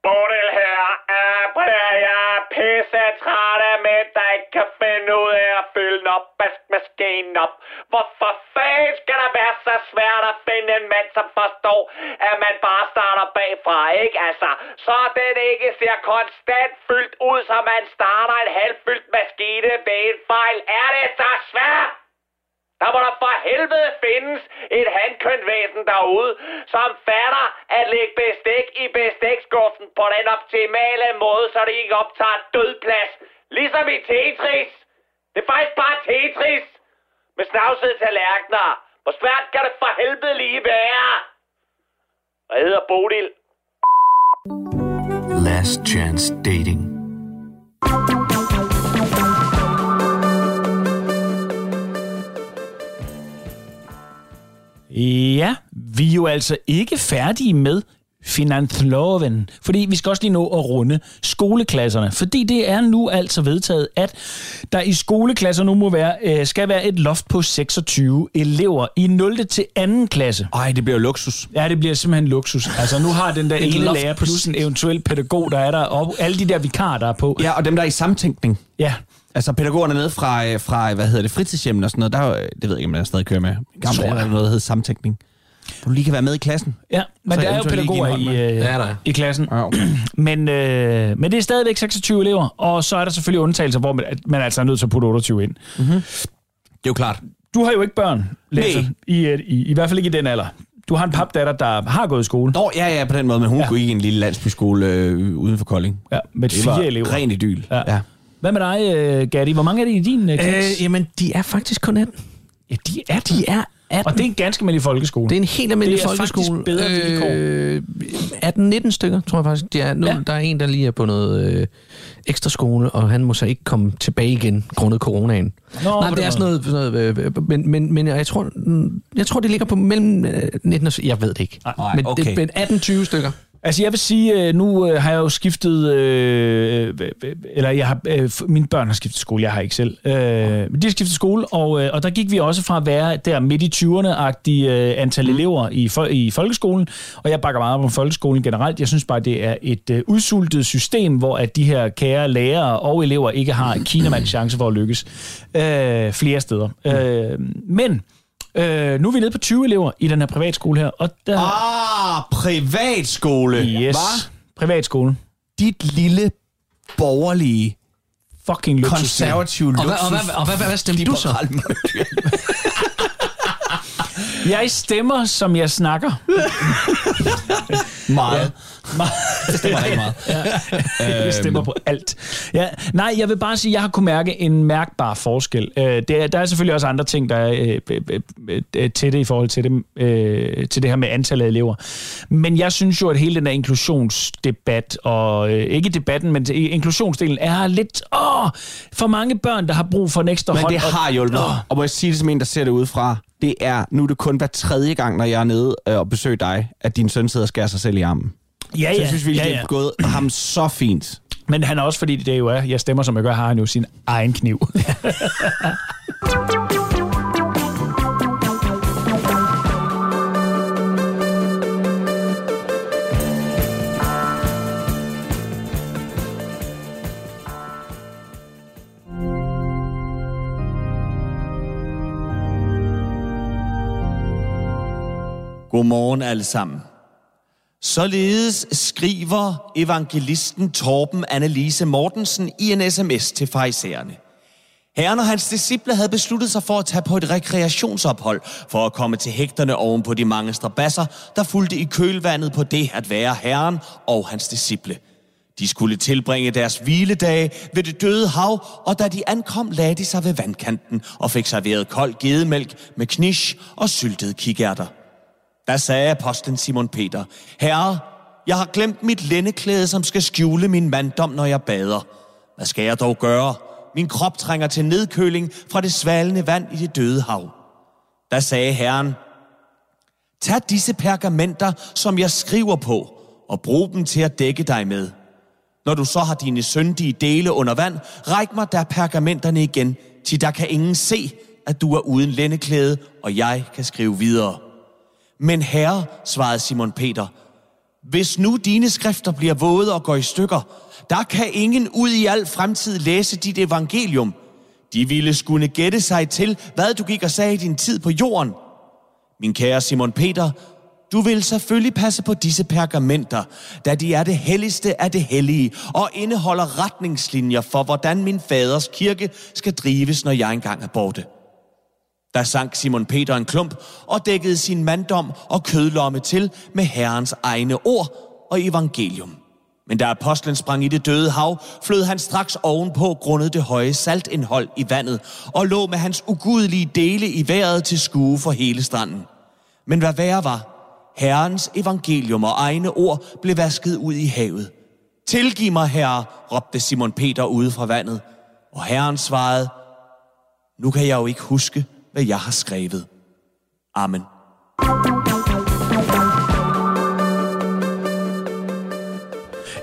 [SPEAKER 5] Bodil her. Abla, jeg er pisse træt af mænd, der ikke kan finde ud af at fylde op vaskemaskinen op. Hvorfor fanden skal der være så svært at finde en mand, som forstår, at man bare starter bagfra, ikke? Altså, så den ikke ser konstant fyldt ud, så man starter en halvfyldt maskine ved en fejl. Er det så svært? Der må der for helvede findes et handkønvæsen derude, som fatter at lægge bestik i bestikskuffen på den optimale måde, så det ikke optager dødplads. Ligesom i Tetris. Det er faktisk bare Tetris. Med snavsede tallerkener. Hvor svært kan det for helvede lige være? Og jeg hedder Bodil.
[SPEAKER 9] Last Chance Dating.
[SPEAKER 2] Ja, vi er jo altså ikke færdige med finansloven, fordi vi skal også lige nå at runde skoleklasserne, fordi det er nu altså vedtaget, at der i skoleklasser nu må være, øh, skal være et loft på 26 elever i 0. til 2. klasse.
[SPEAKER 11] Ej, det bliver jo luksus.
[SPEAKER 2] Ja, det bliver simpelthen luksus. Altså, nu har den der
[SPEAKER 11] Et
[SPEAKER 2] ene
[SPEAKER 11] loft
[SPEAKER 2] lærer
[SPEAKER 11] plus-
[SPEAKER 2] plus en eventuel pædagog, der er der, og alle de der vikarer, der er på.
[SPEAKER 11] Ja, og dem, der er i samtænkning.
[SPEAKER 2] Ja,
[SPEAKER 11] Altså pædagogerne nede fra, øh, fra hvad hedder det, fritidshjemmen og sådan noget, der er jo, øh, det ved jeg ikke, om man stadig kører med. Gamle
[SPEAKER 2] tror
[SPEAKER 11] tror,
[SPEAKER 2] jeg.
[SPEAKER 11] der er noget, der hedder samtænkning. Du lige kan være med i klassen.
[SPEAKER 2] ja. men
[SPEAKER 11] Så
[SPEAKER 2] der er jo
[SPEAKER 11] eventuelt lige give
[SPEAKER 2] pædagoger
[SPEAKER 11] en hånd
[SPEAKER 2] i,
[SPEAKER 11] med.
[SPEAKER 2] øh,
[SPEAKER 3] Det er der.
[SPEAKER 2] i klassen.
[SPEAKER 11] Ja, okay.
[SPEAKER 2] Men, øh, men det er stadigvæk 26 elever, og så er der selvfølgelig undtagelser, hvor man, at man altså er nødt til at putte 28 ind.
[SPEAKER 11] Det er jo klart.
[SPEAKER 2] Du har jo ikke børn, Lasse,
[SPEAKER 11] Nej.
[SPEAKER 2] i, øh, i, i hvert fald ikke i den alder. Du har en papdatter, der har gået i skole
[SPEAKER 11] Nå, ja, ja, på den måde, men hun ja. gik i en lille landsbyskole øh, uden for Kolding.
[SPEAKER 2] ja, med
[SPEAKER 11] Det var
[SPEAKER 2] fire elever.
[SPEAKER 11] ren idyl.
[SPEAKER 2] Ja.
[SPEAKER 11] ja.
[SPEAKER 2] Hvad med dig, øh, Gatti? Hvor mange er det i din øh, klasse?
[SPEAKER 3] Øh, jamen, de er faktisk kun 18.
[SPEAKER 2] ja, de er de.
[SPEAKER 3] De er 18.
[SPEAKER 2] Og det er en ganske almindelig folkeskole.
[SPEAKER 3] Det er en helt almindelig
[SPEAKER 2] Det er faktisk
[SPEAKER 3] folkeskole.
[SPEAKER 2] bedre
[SPEAKER 3] øh, 18-19 stykker, tror jeg faktisk. De er, nu,
[SPEAKER 2] Ja.
[SPEAKER 3] ja. Der er en, der lige er på noget øh, ekstra skole, og han må så ikke komme tilbage igen, grundet coronaen.
[SPEAKER 2] Nå, på
[SPEAKER 3] Nej,
[SPEAKER 2] den
[SPEAKER 3] det er sådan
[SPEAKER 2] måde.
[SPEAKER 3] noget... Sådan noget øh, øh, men, men, men jeg tror, mm, jeg tror, det ligger på mellem øh, 19 og... Jeg ved det ikke.
[SPEAKER 11] nej,
[SPEAKER 3] men,
[SPEAKER 11] okay.
[SPEAKER 3] det, men 18-20 stykker.
[SPEAKER 2] Altså, jeg vil sige, øh, nu øh, har jeg jo skiftet, øh, øh, øh, eller jeg har, øh, f- mine børn har skiftet skole, jeg har ikke selv. Øh, men de har skiftet skole, og, øh, og der gik vi også fra at være der midt i 20'erne-agtige øh, antal
[SPEAKER 11] Mm.
[SPEAKER 2] elever i, fol- i folkeskolen, og jeg bakker meget op om folkeskolen generelt. Jeg synes bare, det er et øh, udsultet system, hvor at de her kære lærere og elever ikke har kinamands chance for at lykkes øh, flere steder.
[SPEAKER 11] Mm.
[SPEAKER 2] Øh, men... Øh, nu er vi nede på 20 elever i den her privatskole her, og der...
[SPEAKER 11] Ah, privatskole.
[SPEAKER 2] Yes.
[SPEAKER 11] Hva?
[SPEAKER 2] Privatskole.
[SPEAKER 11] Dit lille borgerlige,
[SPEAKER 2] Fucking luksus.
[SPEAKER 11] konservative
[SPEAKER 3] Og
[SPEAKER 11] luksus.
[SPEAKER 3] hvad, og hvad, og hvad, hvad, hvad stemte du så?
[SPEAKER 2] Jeg stemmer, som jeg snakker.
[SPEAKER 11] Meget. Det stemmer rigtig meget.
[SPEAKER 2] Jeg stemmer på alt. Ja, nej, jeg vil bare sige, at jeg har kunne mærke en mærkbar forskel. Øh, det er, der er selvfølgelig også andre ting, der er øh, øh, øh, øh, til det i forhold til det, øh, til det her med antallet af elever. Men jeg synes jo, at hele den her inklusionsdebat, og øh, ikke debatten, men inklusionsdelen, er lidt åh, for mange børn, der har brug for en ekstra
[SPEAKER 11] Men
[SPEAKER 2] hånd.
[SPEAKER 11] det
[SPEAKER 2] og-
[SPEAKER 11] har hjulpet. Og må jeg sige det som en, der ser det udefra? Det er, nu er det kun hver tredje gang, når jeg er nede øh, og besøger dig, at din søn sidder og skærer sig selv i armen.
[SPEAKER 2] ja,
[SPEAKER 11] Så
[SPEAKER 2] ja,
[SPEAKER 11] jeg synes virkelig,
[SPEAKER 2] ja,
[SPEAKER 11] det
[SPEAKER 2] ja.
[SPEAKER 11] er gået ham så fint.
[SPEAKER 2] Men han er også, fordi det jo er, jeg stemmer, som jeg gør, har han jo sin egen kniv.
[SPEAKER 6] Godmorgen alle sammen. Således skriver evangelisten Torben Annelise Mortensen i en sms til fejserne. Herren og hans disciple havde besluttet sig for at tage på et rekreationsophold for at komme til hægterne oven på de mange strabasser, der fulgte i kølvandet på det at være herren og hans disciple. De skulle tilbringe deres hviledage ved det døde hav, og da de ankom, lagde de sig ved vandkanten og fik serveret kold gedemælk med knish og syltede kikærter. Der sagde apostlen Simon Peter, Herre, jeg har glemt mit lændeklæde, som skal skjule min manddom, når jeg bader. Hvad skal jeg dog gøre? Min krop trænger til nedkøling fra det svalende vand i det døde hav. Der sagde Herren, Tag disse pergamenter, som jeg skriver på, og brug dem til at dække dig med. Når du så har dine syndige dele under vand, ræk mig der pergamenterne igen, til der kan ingen se, at du er uden lændeklæde, og jeg kan skrive videre. Men herre, svarede Simon Peter, Hvis nu dine skrifter bliver våde og går i stykker, der kan ingen ud i al fremtid læse dit evangelium. De ville skulle gætte sig til, hvad du gik og sagde i din tid på jorden. Min kære Simon Peter, du vil selvfølgelig passe på disse pergamenter, da de er det helligste af det hellige og indeholder retningslinjer for, hvordan min faders kirke skal drives, når jeg engang er borte. Der sank Simon Peter en klump og dækkede sin manddom og kødlomme til med Herrens egne ord og evangelium. Men da apostlen sprang i det døde hav, flød han straks ovenpå grundet det høje saltindhold i vandet og lå med hans ugudelige dele i vejret til skue for hele stranden. Men hvad værre var, Herrens evangelium og egne ord blev vasket ud i havet. Tilgiv mig, herre, råbte Simon Peter ude fra vandet. Og herren svarede, nu kan jeg jo ikke huske, hvad jeg har skrevet. Amen.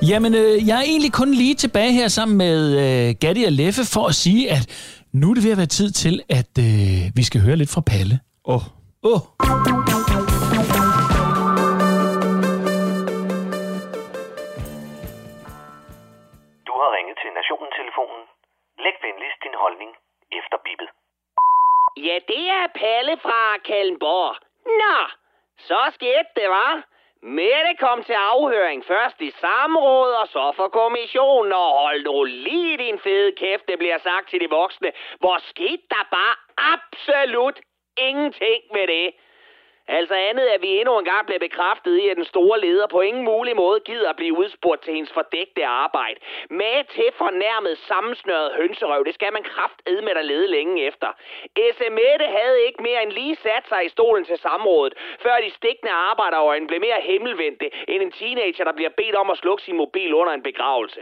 [SPEAKER 2] Jamen, øh, jeg er egentlig kun lige tilbage her sammen med øh, Gatti og Leffe for at sige, at nu er det ved at være tid til, at øh, vi skal høre lidt fra Palle. Åh. Oh. Åh. Oh.
[SPEAKER 9] Du har ringet til Nationen-telefonen. Læg venligst din holdning efter bippet.
[SPEAKER 5] Ja, det er Palle fra Kallenborg. Nå, så skete det, var. Mette kom til afhøring først i samråd, og så for kommissionen, og hold nu lige din fede kæft, det bliver sagt til de voksne. Hvor skete der bare absolut ingenting med det? Altså andet, at vi endnu engang blev bekræftet i, at den store leder på ingen mulig måde gider at blive udspurgt til hendes fordægte arbejde. Med til fornærmet sammensnørret hønserøv, det skal man kraftedme med at lede længe efter. SMette havde ikke mere end lige sat sig i stolen til samrådet, før de stikkende arbejderøjne blev mere himmelvendte end en teenager, der bliver bedt om at slukke sin mobil under en begravelse.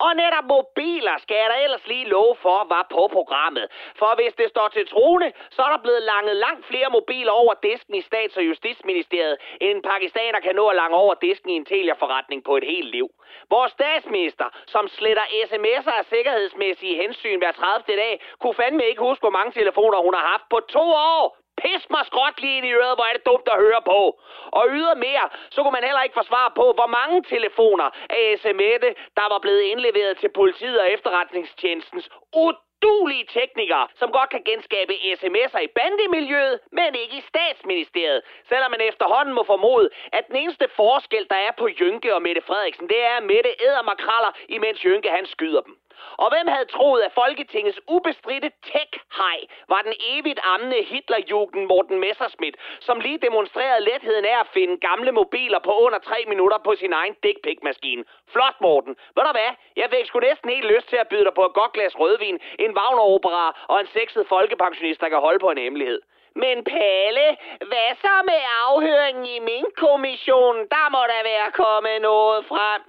[SPEAKER 5] Og netop mobiler skal jeg da ellers lige love for, var på programmet. For hvis det står til troende, så er der blevet langet langt flere mobiler over disken i Stats- og Justitsministeriet, end en pakistaner kan nå at lange over disken i en Telia-forretning på et helt liv. Vores statsminister, som sletter sms'er af sikkerhedsmæssige hensyn hver 30. dag, kunne fandme ikke huske, hvor mange telefoner hun har haft på to år. Pis mig skråt lige ind i øret, hvor er det dumt at høre på. Og ydermere, så kunne man heller ikke forsvare på, hvor mange telefoner af sms'e, der var blevet indleveret til politiet og efterretningstjenestens udulige teknikere, som godt kan genskabe sms'er i bandemiljøet, men ikke i statsministeriet. Selvom man efterhånden må formode, at den eneste forskel, der er på Jynke og Mette Frederiksen, det er, at Mette æder makraller, imens Jynke han skyder dem. Og hvem havde troet, at Folketingets ubestridte tech-hej var den evigt ammende Hitlerjugend Morten Messerschmidt, som lige demonstrerede letheden af at finde gamle mobiler på under 3 minutter på sin egen dick pic maskine Flot, Morten. Ved du hvad? Jeg fik sgu næsten helt lyst til at byde dig på et godt glas rødvin, en Wagner-opera og en sexet folkepensionist, der kan holde på en hemmelighed. Men Palle, hvad så med afhøringen i min kommission? Der må der være kommet noget frem.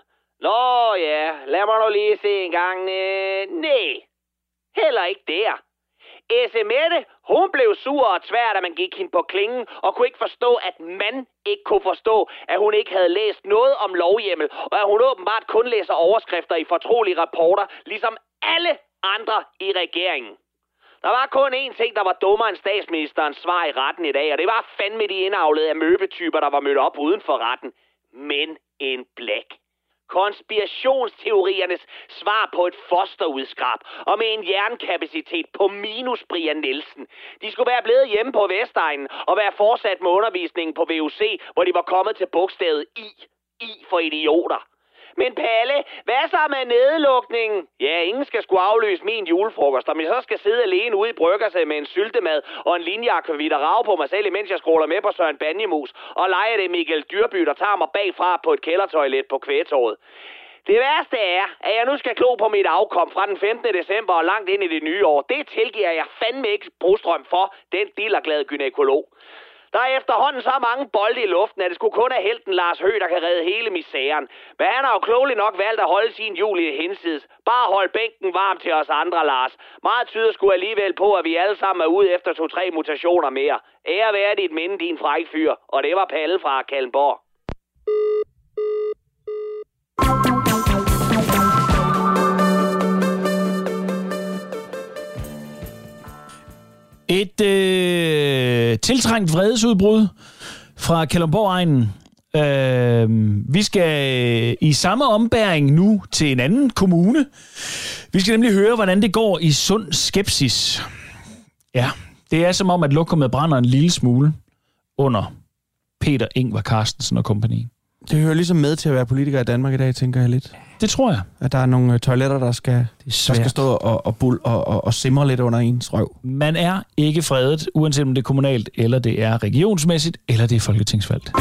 [SPEAKER 5] Nå ja, lad mig nu lige se en gang. Øh, nej, heller ikke der. SMette, hun blev sur og tvær, da man gik hende på klingen, og kunne ikke forstå, at man ikke kunne forstå, at hun ikke havde læst noget om lovhjemmel, og at hun åbenbart kun læser overskrifter i fortrolige rapporter, ligesom alle andre i regeringen. Der var kun én ting, der var dummere end statsministerens svar i retten i dag, og det var fandme de indavlede amøbetyper, der var mødt op uden for retten. Men en blæk konspirationsteoriernes svar på et fosterudskrab, og med en jernkapacitet på minus Brian Nielsen. De skulle være blevet hjemme på Vestegnen og være fortsat med undervisningen på VUC, hvor de var kommet til bogstavet I. I for idioter. Men Palle, hvad så med nedlukningen? Ja, ingen skal skulle afløse min julefrokost, om jeg så skal sidde alene ude i bryggerset med en syltemad og en linjeakvavit og rave på mig selv, mens jeg scroller med på Søren Banjemus og leger det Michael Dyrby, der tager mig bagfra på et kældertoilet på kvægetåret. Det værste er, at jeg nu skal klo på mit afkom fra den 15. december og langt ind i det nye år. Det tilgiver jeg fandme ikke Brostrøm for, den dillerglade gynækolog. Der er efterhånden så mange bolde i luften, at det skulle kun er helten Lars Høgh, der kan redde hele misæren. Men han har jo klogeligt nok valgt at holde sin jul i hensides. Bare hold bænken varm til os andre, Lars. Meget tyder skulle alligevel på, at vi alle sammen er ude efter to-tre mutationer mere. Ære være dit minde, din fræk fyr. Og det var Palle fra Kalmborg.
[SPEAKER 2] Et øh, tiltrængt vredesudbrud fra Kalundborg-egnen. Øh, vi skal øh, i samme ombæring nu til en anden kommune. Vi skal nemlig høre, hvordan det går i sund skepsis. Ja, det er som om, at lokummet brænder en lille smule under Peter Ingvar Carstensen og kompagni.
[SPEAKER 6] Det hører ligesom med til at være politiker i Danmark i dag, tænker jeg lidt.
[SPEAKER 2] Det tror jeg.
[SPEAKER 6] At der er nogle øh, toiletter, der skal, der skal
[SPEAKER 2] svært.
[SPEAKER 6] stå og, og, bul, og, og, og simre lidt under ens røv.
[SPEAKER 2] Man er ikke fredet, uanset om det er kommunalt, eller det er regionsmæssigt, eller det er folketingsvalgt.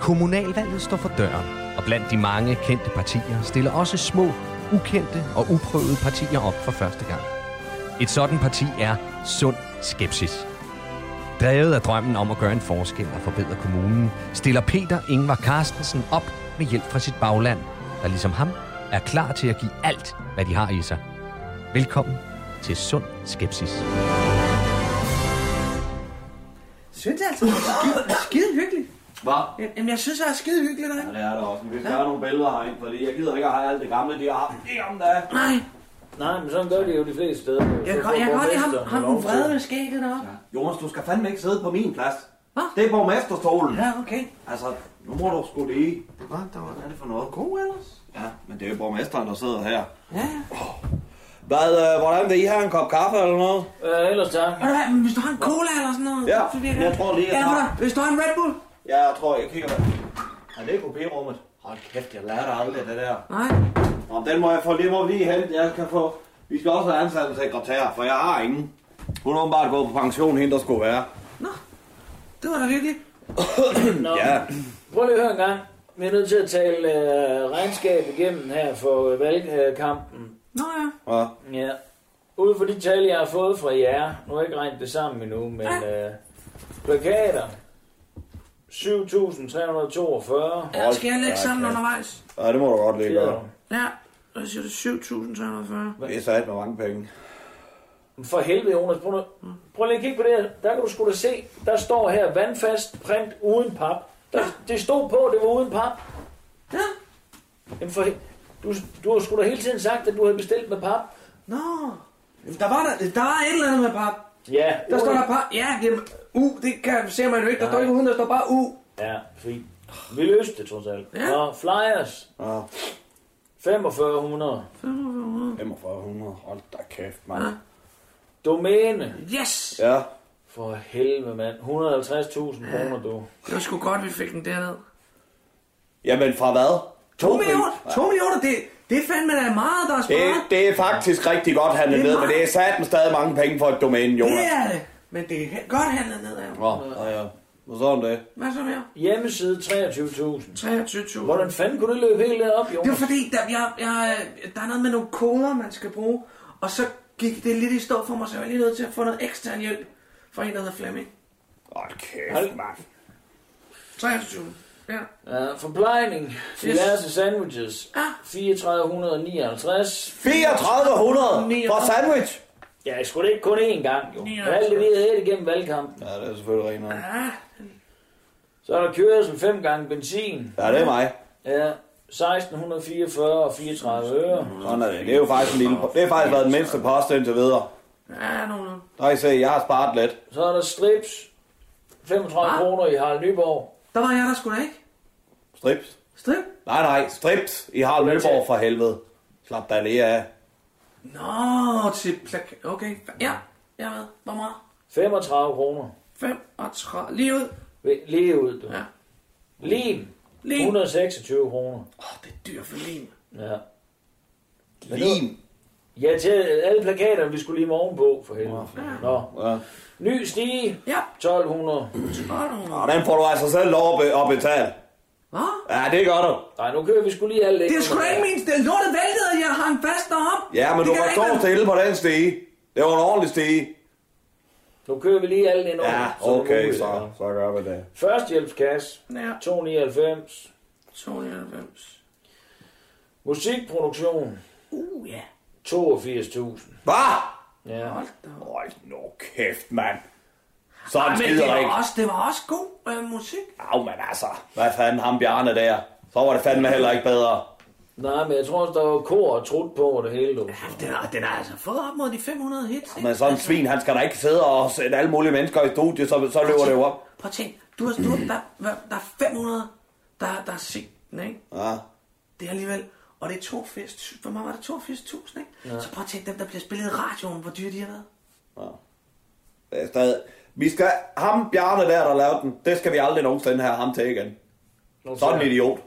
[SPEAKER 3] Kommunalvalget står for døren, og blandt de mange kendte partier stiller også små, ukendte og uprøvede partier op for første gang. Et sådan parti er Sund Skepsis. Drevet af drømmen om at gøre en forskel og forbedre kommunen, stiller Peter Ingvar Carstensen op med hjælp fra sit bagland, der ligesom ham er klar til at give alt, hvad de har i sig. Velkommen til Sund Skepsis.
[SPEAKER 9] Synes det altså, det er skide, skide hyggeligt.
[SPEAKER 4] Hvad?
[SPEAKER 9] Jamen, jeg synes, det er skide hyggeligt,
[SPEAKER 4] Ja,
[SPEAKER 9] ikke?
[SPEAKER 4] det er det også. Men Vi skal have nogle billeder herind, fordi jeg gider ikke at have alt det gamle, de har haft. Det gamle, der er.
[SPEAKER 9] Nej.
[SPEAKER 4] Nej, men sådan gør de jo de fleste steder.
[SPEAKER 9] Jeg kan, jeg kan godt lide ham, ham den vrede med skægget deroppe.
[SPEAKER 4] Jonas, du skal fandme ikke sidde på min plads. Hvad? Det er borgmesterstolen.
[SPEAKER 9] Ja, okay.
[SPEAKER 4] Altså, nu må du sgu det i. Hvad er det for noget? God ellers? Ja, men det er jo borgmesteren, der sidder her.
[SPEAKER 9] Ja.
[SPEAKER 4] Hvad, øh, hvordan vil I have en kop kaffe eller noget?
[SPEAKER 5] Øh, ellers tak.
[SPEAKER 9] Ved du hvad, men hvis du har en cola eller sådan noget,
[SPEAKER 4] Ja,
[SPEAKER 9] så bliver det...
[SPEAKER 4] men jeg tror lige, jeg
[SPEAKER 9] Eller
[SPEAKER 4] tager-
[SPEAKER 9] hvad, hvis du har en Red Bull?
[SPEAKER 4] Ja, jeg tror, jeg kigger på Er det i kopirummet? Hold kæft, jeg lærte aldrig det der.
[SPEAKER 9] Nej.
[SPEAKER 4] Nå, den må jeg få lige, må vi lige hente. Jeg kan få... Vi skal også have ansat en sekretær, for jeg har ingen. Hun er åbenbart gået på pension, hende der skulle være.
[SPEAKER 9] Det var da hyggeligt.
[SPEAKER 5] Nå,
[SPEAKER 4] Ja.
[SPEAKER 5] Prøv lige at høre en gang. Vi er nødt til at tale øh, regnskab igennem her for øh, valgkampen.
[SPEAKER 9] Nå ja.
[SPEAKER 4] Hvad?
[SPEAKER 5] Ja. Ud fra de tal, jeg har fået fra jer, nu har jeg ikke regnet det sammen endnu, men øh, plakater, 7.342.
[SPEAKER 9] Ja, skal jeg lægge sammen undervejs?
[SPEAKER 4] Ja, det må du godt lige
[SPEAKER 5] Ja.
[SPEAKER 4] gøre.
[SPEAKER 9] Ja. Og så siger du 7.340.
[SPEAKER 4] Det er sat med mange penge.
[SPEAKER 5] For helvede, Jonas, prøv, nu, prøv lige at kigge på det her. Der kan du sgu da se, der står her vandfast print uden pap. Der, det stod på, det var uden pap.
[SPEAKER 9] Ja.
[SPEAKER 5] Jamen for, he- du, du har sgu da hele tiden sagt, at du havde bestilt med pap.
[SPEAKER 9] Nå. Jamen, Der var, der, der var et eller andet med pap.
[SPEAKER 5] Ja.
[SPEAKER 9] Der står
[SPEAKER 5] uden-
[SPEAKER 9] der pap. Ja, jamen, u, det kan, ser man jo ikke. Der
[SPEAKER 5] Nej.
[SPEAKER 9] står ikke uden, der står bare u.
[SPEAKER 5] Ja, fint. Vi løste det trods alt.
[SPEAKER 9] Ja.
[SPEAKER 5] Nå, flyers.
[SPEAKER 4] Ja.
[SPEAKER 5] 4500.
[SPEAKER 4] 4500. Hold da kæft, mand. Ja.
[SPEAKER 5] Domæne.
[SPEAKER 9] Yes!
[SPEAKER 4] Ja.
[SPEAKER 5] For helvede, mand. 150.000 kroner, du.
[SPEAKER 9] Det var sgu godt, vi fik den derned.
[SPEAKER 4] Jamen, fra hvad?
[SPEAKER 9] 2 millioner? 2 millioner, det, det er fandme da meget, der er
[SPEAKER 4] Det,
[SPEAKER 9] sparet.
[SPEAKER 4] det er faktisk rigtig godt handlet
[SPEAKER 9] Det er
[SPEAKER 4] ned, men
[SPEAKER 9] meget.
[SPEAKER 4] det er satme stadig mange penge for et domæne, Jonas.
[SPEAKER 9] Det er det. Men det er godt handlet ned af.
[SPEAKER 4] Nå, ja, ja. Hvor sådan det?
[SPEAKER 9] Hvad så mere?
[SPEAKER 5] Hjemmeside 23.000.
[SPEAKER 9] 23.000.
[SPEAKER 5] Hvordan fanden kunne det løbe helt op, Jonas?
[SPEAKER 9] Det var fordi, der, jeg, jeg, der er noget med nogle koder, man skal bruge. Og så gik det lidt i stå for mig, så jeg var lige nødt til at få noget ekstern hjælp fra en, der hedder Flemming.
[SPEAKER 4] Hold
[SPEAKER 5] Hold-
[SPEAKER 4] kæft, mand.
[SPEAKER 9] 23. Ja.
[SPEAKER 5] Ja, forplejning. Diverse sandwiches. 3459.
[SPEAKER 4] 3400 for sandwich?
[SPEAKER 5] Ja, jeg skulle ikke kun én gang, jo. Det er alt det, vi havde helt igennem valgkampen.
[SPEAKER 4] Ja, det er selvfølgelig rent nok.
[SPEAKER 9] Ah,
[SPEAKER 5] Så er der kørsel fem gange benzin.
[SPEAKER 4] Ja, det er mig.
[SPEAKER 5] Ja, 1644 og 34 øre.
[SPEAKER 4] Sådan er det. Det er jo faktisk en lille... Det har faktisk været den mindste post indtil videre.
[SPEAKER 9] Ja, nogen.
[SPEAKER 4] Der kan I se, jeg har sparet lidt.
[SPEAKER 5] Så er der strips. 35 kroner i Harald Nyborg.
[SPEAKER 9] Der var jeg der skulle da ikke.
[SPEAKER 4] Strips.
[SPEAKER 9] Strip?
[SPEAKER 4] Nej, nej. Strips. I har Nyborg for helvede. Slap da lige af.
[SPEAKER 9] Nå, til plak... Okay, ja. Jeg ved. Hvor meget?
[SPEAKER 5] 35 kroner.
[SPEAKER 9] 35. Lige ud.
[SPEAKER 5] Lige ud, du.
[SPEAKER 9] Ja.
[SPEAKER 5] Lim.
[SPEAKER 9] Lim.
[SPEAKER 5] 126 kroner. Åh,
[SPEAKER 9] oh, det er dyrt for lim.
[SPEAKER 5] Ja. Lim? Ja, til alle plakaterne, vi skulle lige ovenpå, for helvede. Nå.
[SPEAKER 4] Ja.
[SPEAKER 5] Ny stige.
[SPEAKER 9] Ja.
[SPEAKER 5] 1200.
[SPEAKER 4] Og den får du altså selv lov at be- at betale.
[SPEAKER 9] Hvad?
[SPEAKER 4] Ja, det gør du.
[SPEAKER 5] Nej, nu kører vi skulle lige alle
[SPEAKER 9] Det er sgu da ikke min stil. Lortet væltede, og jeg hang fast derop.
[SPEAKER 4] Ja, men
[SPEAKER 9] Det
[SPEAKER 4] du
[SPEAKER 9] kan
[SPEAKER 4] var
[SPEAKER 9] da ikke
[SPEAKER 4] stå
[SPEAKER 9] være-
[SPEAKER 4] stille på den stige. Det var en ordentlig stige.
[SPEAKER 5] Nu kører vi lige alle ind over.
[SPEAKER 4] Ja,
[SPEAKER 5] så er det
[SPEAKER 4] okay,
[SPEAKER 5] muligt,
[SPEAKER 4] så, så gør vi det.
[SPEAKER 5] Førstehjælpskasse.
[SPEAKER 9] Ja.
[SPEAKER 5] 299.
[SPEAKER 9] 299.
[SPEAKER 5] Musikproduktion.
[SPEAKER 9] Uh, ja.
[SPEAKER 5] 82.000.
[SPEAKER 4] Hvad?
[SPEAKER 5] Ja. Hold
[SPEAKER 4] Hold nu kæft, mand. Sådan
[SPEAKER 9] Ej, Ah, men det
[SPEAKER 4] skider ikke.
[SPEAKER 9] var, også, det var også god øh, musik.
[SPEAKER 4] Au, men altså. Hvad fanden ham Bjarne der? Så var det fandme heller ikke bedre.
[SPEAKER 5] Nej, men jeg tror, der var kor og trut på og det hele, du.
[SPEAKER 9] Den har, den har altså fået op mod de 500 hits, ikke?
[SPEAKER 10] Men sådan en svin, han skal da ikke sidde og sætte alle mulige mennesker i studiet, så, så løber det jo op.
[SPEAKER 9] Prøv at tænk, du har, du, der, hvad- der er 500, der, der er set den, ikke?
[SPEAKER 10] Ja.
[SPEAKER 9] Det er alligevel, og det er 82, hvor meget var det, 82.000, ikke?
[SPEAKER 10] Ja.
[SPEAKER 9] Ja. Så prøv at tænke dem, der bliver spillet i radioen, hvor dyre de har været.
[SPEAKER 10] Det er stadig. Vi skal, ham Bjarne der, der lavede den, det skal vi aldrig nogensinde have ham til igen. Sådan en idiot.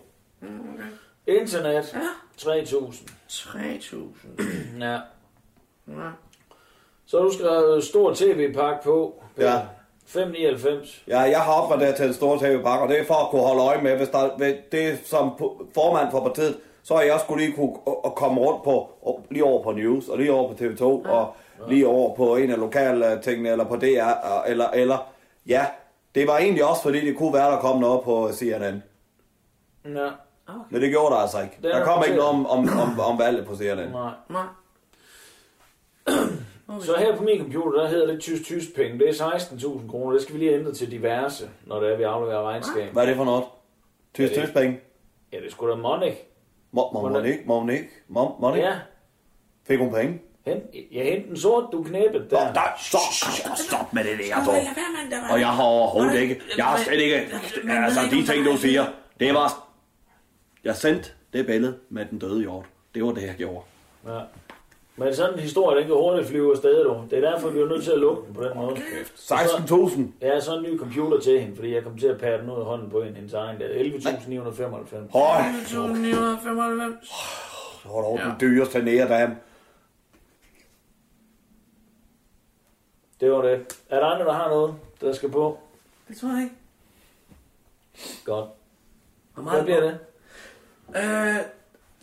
[SPEAKER 5] Internet. Ja. 3.000.
[SPEAKER 9] 3.000.
[SPEAKER 5] ja.
[SPEAKER 9] Ja.
[SPEAKER 5] Så har du skrevet stor tv-pakke på.
[SPEAKER 10] Ja.
[SPEAKER 5] 599.
[SPEAKER 10] Ja, jeg har opgraderet til en stor tv-pakke, og det er for at kunne holde øje med, hvis der, hvis det er som po- formand for partiet, så har jeg skulle lige kunne og- og komme rundt på, og lige over på News, og lige over på TV2, og lige over på en af lokale tingene, eller på DR, og- eller, eller, ja, det var egentlig også, fordi det kunne være, der kom noget på CNN.
[SPEAKER 5] Ja.
[SPEAKER 10] Men det gjorde der altså ikke.
[SPEAKER 5] Det er
[SPEAKER 10] Der kom ikke noget
[SPEAKER 5] noteret.
[SPEAKER 10] om, om, om, om valget på CNN.
[SPEAKER 5] Nej.
[SPEAKER 9] Nej.
[SPEAKER 5] Så her på min computer, der hedder det tysk tysk penge. Det er 16.000 kroner. Det skal vi lige ændre til diverse, når det er, vi afleverer regnskab.
[SPEAKER 10] Hvad er det for noget? Tysk
[SPEAKER 5] Ja, det-
[SPEAKER 10] tysk penge?
[SPEAKER 5] Ja, det er sgu da Monik.
[SPEAKER 10] Må, må, må, ikke? Må, ikke? Må, må,
[SPEAKER 5] Ja.
[SPEAKER 10] Fik hun penge?
[SPEAKER 5] Hent, jeg henter den sort, du knæppet der.
[SPEAKER 10] Stop, stop, stop, stop med det der, dog.
[SPEAKER 9] Lad være, mand, der var...
[SPEAKER 10] Og jeg har overhovedet ikke, jeg har slet ikke, altså de ting, du siger, det var, jeg sendte det billede med den døde hjort. Det var det, jeg gjorde.
[SPEAKER 5] Ja. Men sådan en historie, den kan hurtigt flyve afsted, du. Det er derfor, vi er nødt til at lukke den på den måde.
[SPEAKER 10] 16.000.
[SPEAKER 5] Ja, så en ny computer til hende, fordi jeg kom til at pære den ud af hånden på en hendes egen der. 11.995.
[SPEAKER 10] Høj,
[SPEAKER 9] 1995.
[SPEAKER 10] det var dog den dyreste nære dame.
[SPEAKER 5] Det var det. Er der andre, der har noget, der skal på?
[SPEAKER 9] Det tror jeg ikke.
[SPEAKER 5] Godt.
[SPEAKER 9] Hvor
[SPEAKER 5] Hvad bliver det?
[SPEAKER 9] Øh,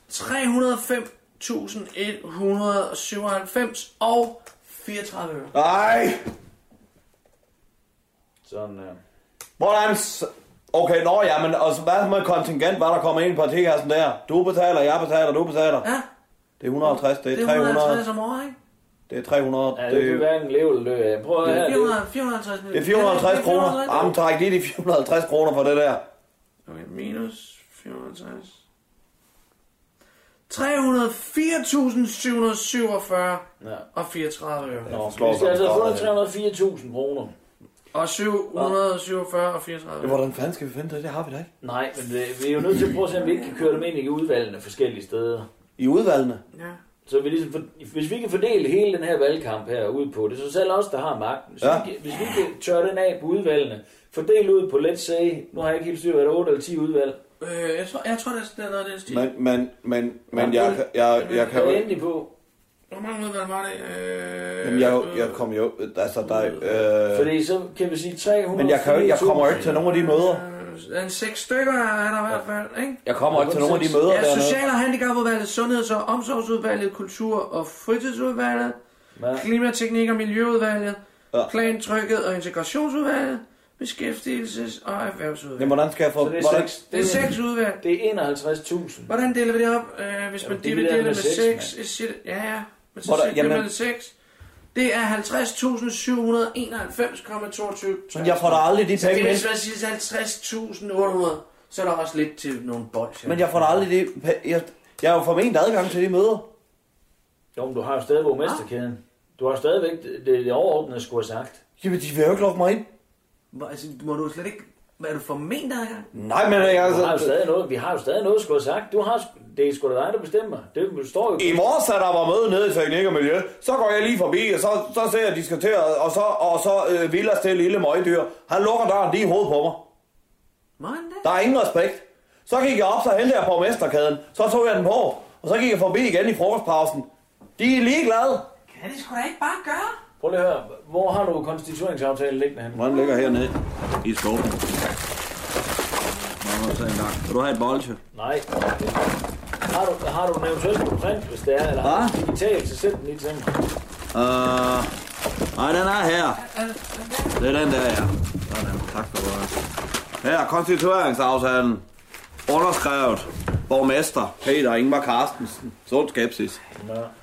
[SPEAKER 9] 305.197 og 34 øre.
[SPEAKER 10] Nej!
[SPEAKER 5] Sådan der.
[SPEAKER 10] Hvordan, s- okay, nå ja, men altså, hvad med kontingent, hvad der kommer ind på partikassen der? Du betaler, jeg betaler, du betaler.
[SPEAKER 9] Ja.
[SPEAKER 10] Det er 150, det
[SPEAKER 9] Det
[SPEAKER 10] er
[SPEAKER 9] er 150
[SPEAKER 10] 300,
[SPEAKER 9] om året, ikke?
[SPEAKER 10] det er 300,
[SPEAKER 5] Ja, det kan hverken leve eller dø af. Prøv at
[SPEAKER 9] Det
[SPEAKER 5] høre
[SPEAKER 9] er
[SPEAKER 5] her.
[SPEAKER 9] 400, 450
[SPEAKER 10] Det er 450 kroner.
[SPEAKER 9] Det er 450.
[SPEAKER 10] Jamen, træk lige de 450 kroner for det der.
[SPEAKER 9] Okay, minus 450. 304.747
[SPEAKER 5] Ja.
[SPEAKER 9] og 34 øre.
[SPEAKER 10] Nå,
[SPEAKER 5] Vi skal altså have fundet 304.000 kroner.
[SPEAKER 9] Og 747 og 34 øre.
[SPEAKER 10] Hvordan fanden skal vi finde det? Det har vi da ikke.
[SPEAKER 5] Nej, men det, vi er jo nødt til at prøve at se, om vi ikke kan køre dem ind i udvalgene forskellige steder.
[SPEAKER 10] I udvalgene?
[SPEAKER 9] Ja.
[SPEAKER 5] Så vi ligesom, for- hvis vi kan fordele hele den her valgkamp her ud på, det er så selv os, der har magten. Hvis,
[SPEAKER 10] Ja.
[SPEAKER 5] vi, kan- hvis vi kan tørre den af på udvalgene, fordele ud på, let's say, nu har jeg ikke helt styr, hvad der er 8 eller 10 udvalg.
[SPEAKER 9] Øh, jeg tror, jeg tror det er noget af den stil.
[SPEAKER 10] Men, men, men, men jeg, jeg, jeg, jeg kan jo ikke...
[SPEAKER 5] på.
[SPEAKER 9] Hvor mange udvalg var det? Øh,
[SPEAKER 10] Jamen, jeg, jeg kommer jo... Altså, der er, øh,
[SPEAKER 5] Fordi så kan vi sige 300...
[SPEAKER 10] Men jeg, kan jo, ikke- jeg kommer jo ikke til nogen af de møder.
[SPEAKER 9] øh, en seks stykker er der i hvert fald, ikke?
[SPEAKER 10] Jeg kommer ikke til nogen af de møder
[SPEAKER 9] Ja,
[SPEAKER 10] dernede.
[SPEAKER 9] social- og handicapudvalget, sundheds- og omsorgsudvalget, kultur- og fritidsudvalget,
[SPEAKER 5] Hvad?
[SPEAKER 9] klimateknik- og miljøudvalget, plan, tryghed og integrationsudvalget, beskæftigelses- og erhvervsudvalget.
[SPEAKER 10] Men hvordan skal jeg få...
[SPEAKER 5] Så det er
[SPEAKER 10] hvordan,
[SPEAKER 5] seks.
[SPEAKER 9] Det er seks udvalg.
[SPEAKER 5] Det er 51.000.
[SPEAKER 9] Hvordan deler vi det op? Øh, hvis man
[SPEAKER 5] Jamen, det
[SPEAKER 9] dividerer
[SPEAKER 5] er
[SPEAKER 9] det
[SPEAKER 5] med
[SPEAKER 9] med
[SPEAKER 5] seks,
[SPEAKER 9] 6, siger det- ja, ja. Men så
[SPEAKER 10] Hvor der-
[SPEAKER 9] siger
[SPEAKER 10] jamen-
[SPEAKER 9] man 6. Det er 50.791,22.
[SPEAKER 10] Men jeg får da aldrig de
[SPEAKER 9] Så
[SPEAKER 10] penge
[SPEAKER 9] Det vil
[SPEAKER 10] ind.
[SPEAKER 9] svare sige 50.800. Så er der også lidt til nogle bolsjer.
[SPEAKER 10] men jeg får da aldrig de... Jeg, jeg er jo forment adgang til de møder.
[SPEAKER 5] Jo, men du har jo stadig borgmesterkæden. Du har stadigvæk det, det overordnede skulle have sagt.
[SPEAKER 10] Jamen, de vil jo ikke lukke mig ind.
[SPEAKER 9] Hvor- Altså, må du slet ikke... Hvad er du forment adgang?
[SPEAKER 10] Nej, men jeg... altså-
[SPEAKER 5] Du har jo stadig noget, vi har jo stadig noget skulle have sagt. Du har, sgu- det er sgu da dig, der bestemmer. Det står jo...
[SPEAKER 10] I morges, da der var møde nede i Teknik og Miljø, så går jeg lige forbi, og så, så ser jeg, at de skal til, at- og så, og så øh, Villas til lille møgdyr. Han lukker døren lige i hovedet på mig. Der er ingen respekt. Så gik jeg op, så hentede jeg på mesterkæden, så tog jeg den på, og så gik jeg forbi igen i frokostpausen. De er ligeglade.
[SPEAKER 9] Kan det sgu da ikke bare gøre?
[SPEAKER 5] Prøv lige at høre, hvor har du konstitueringsaftalen liggende henne?
[SPEAKER 10] Den ligger hernede i skoven. Vil du have et bolsje?
[SPEAKER 5] Nej. Har du, har du den eventuelt på print, hvis det er, eller har du den digitalt, så send den lige til mig.
[SPEAKER 10] Øh, nej, den er her. Det er den der, ja. Sådan, tak for det. Her er konstitueringsaftalen. Underskrevet. Borgmester Peter Ingvar Carstensen. Sund skepsis.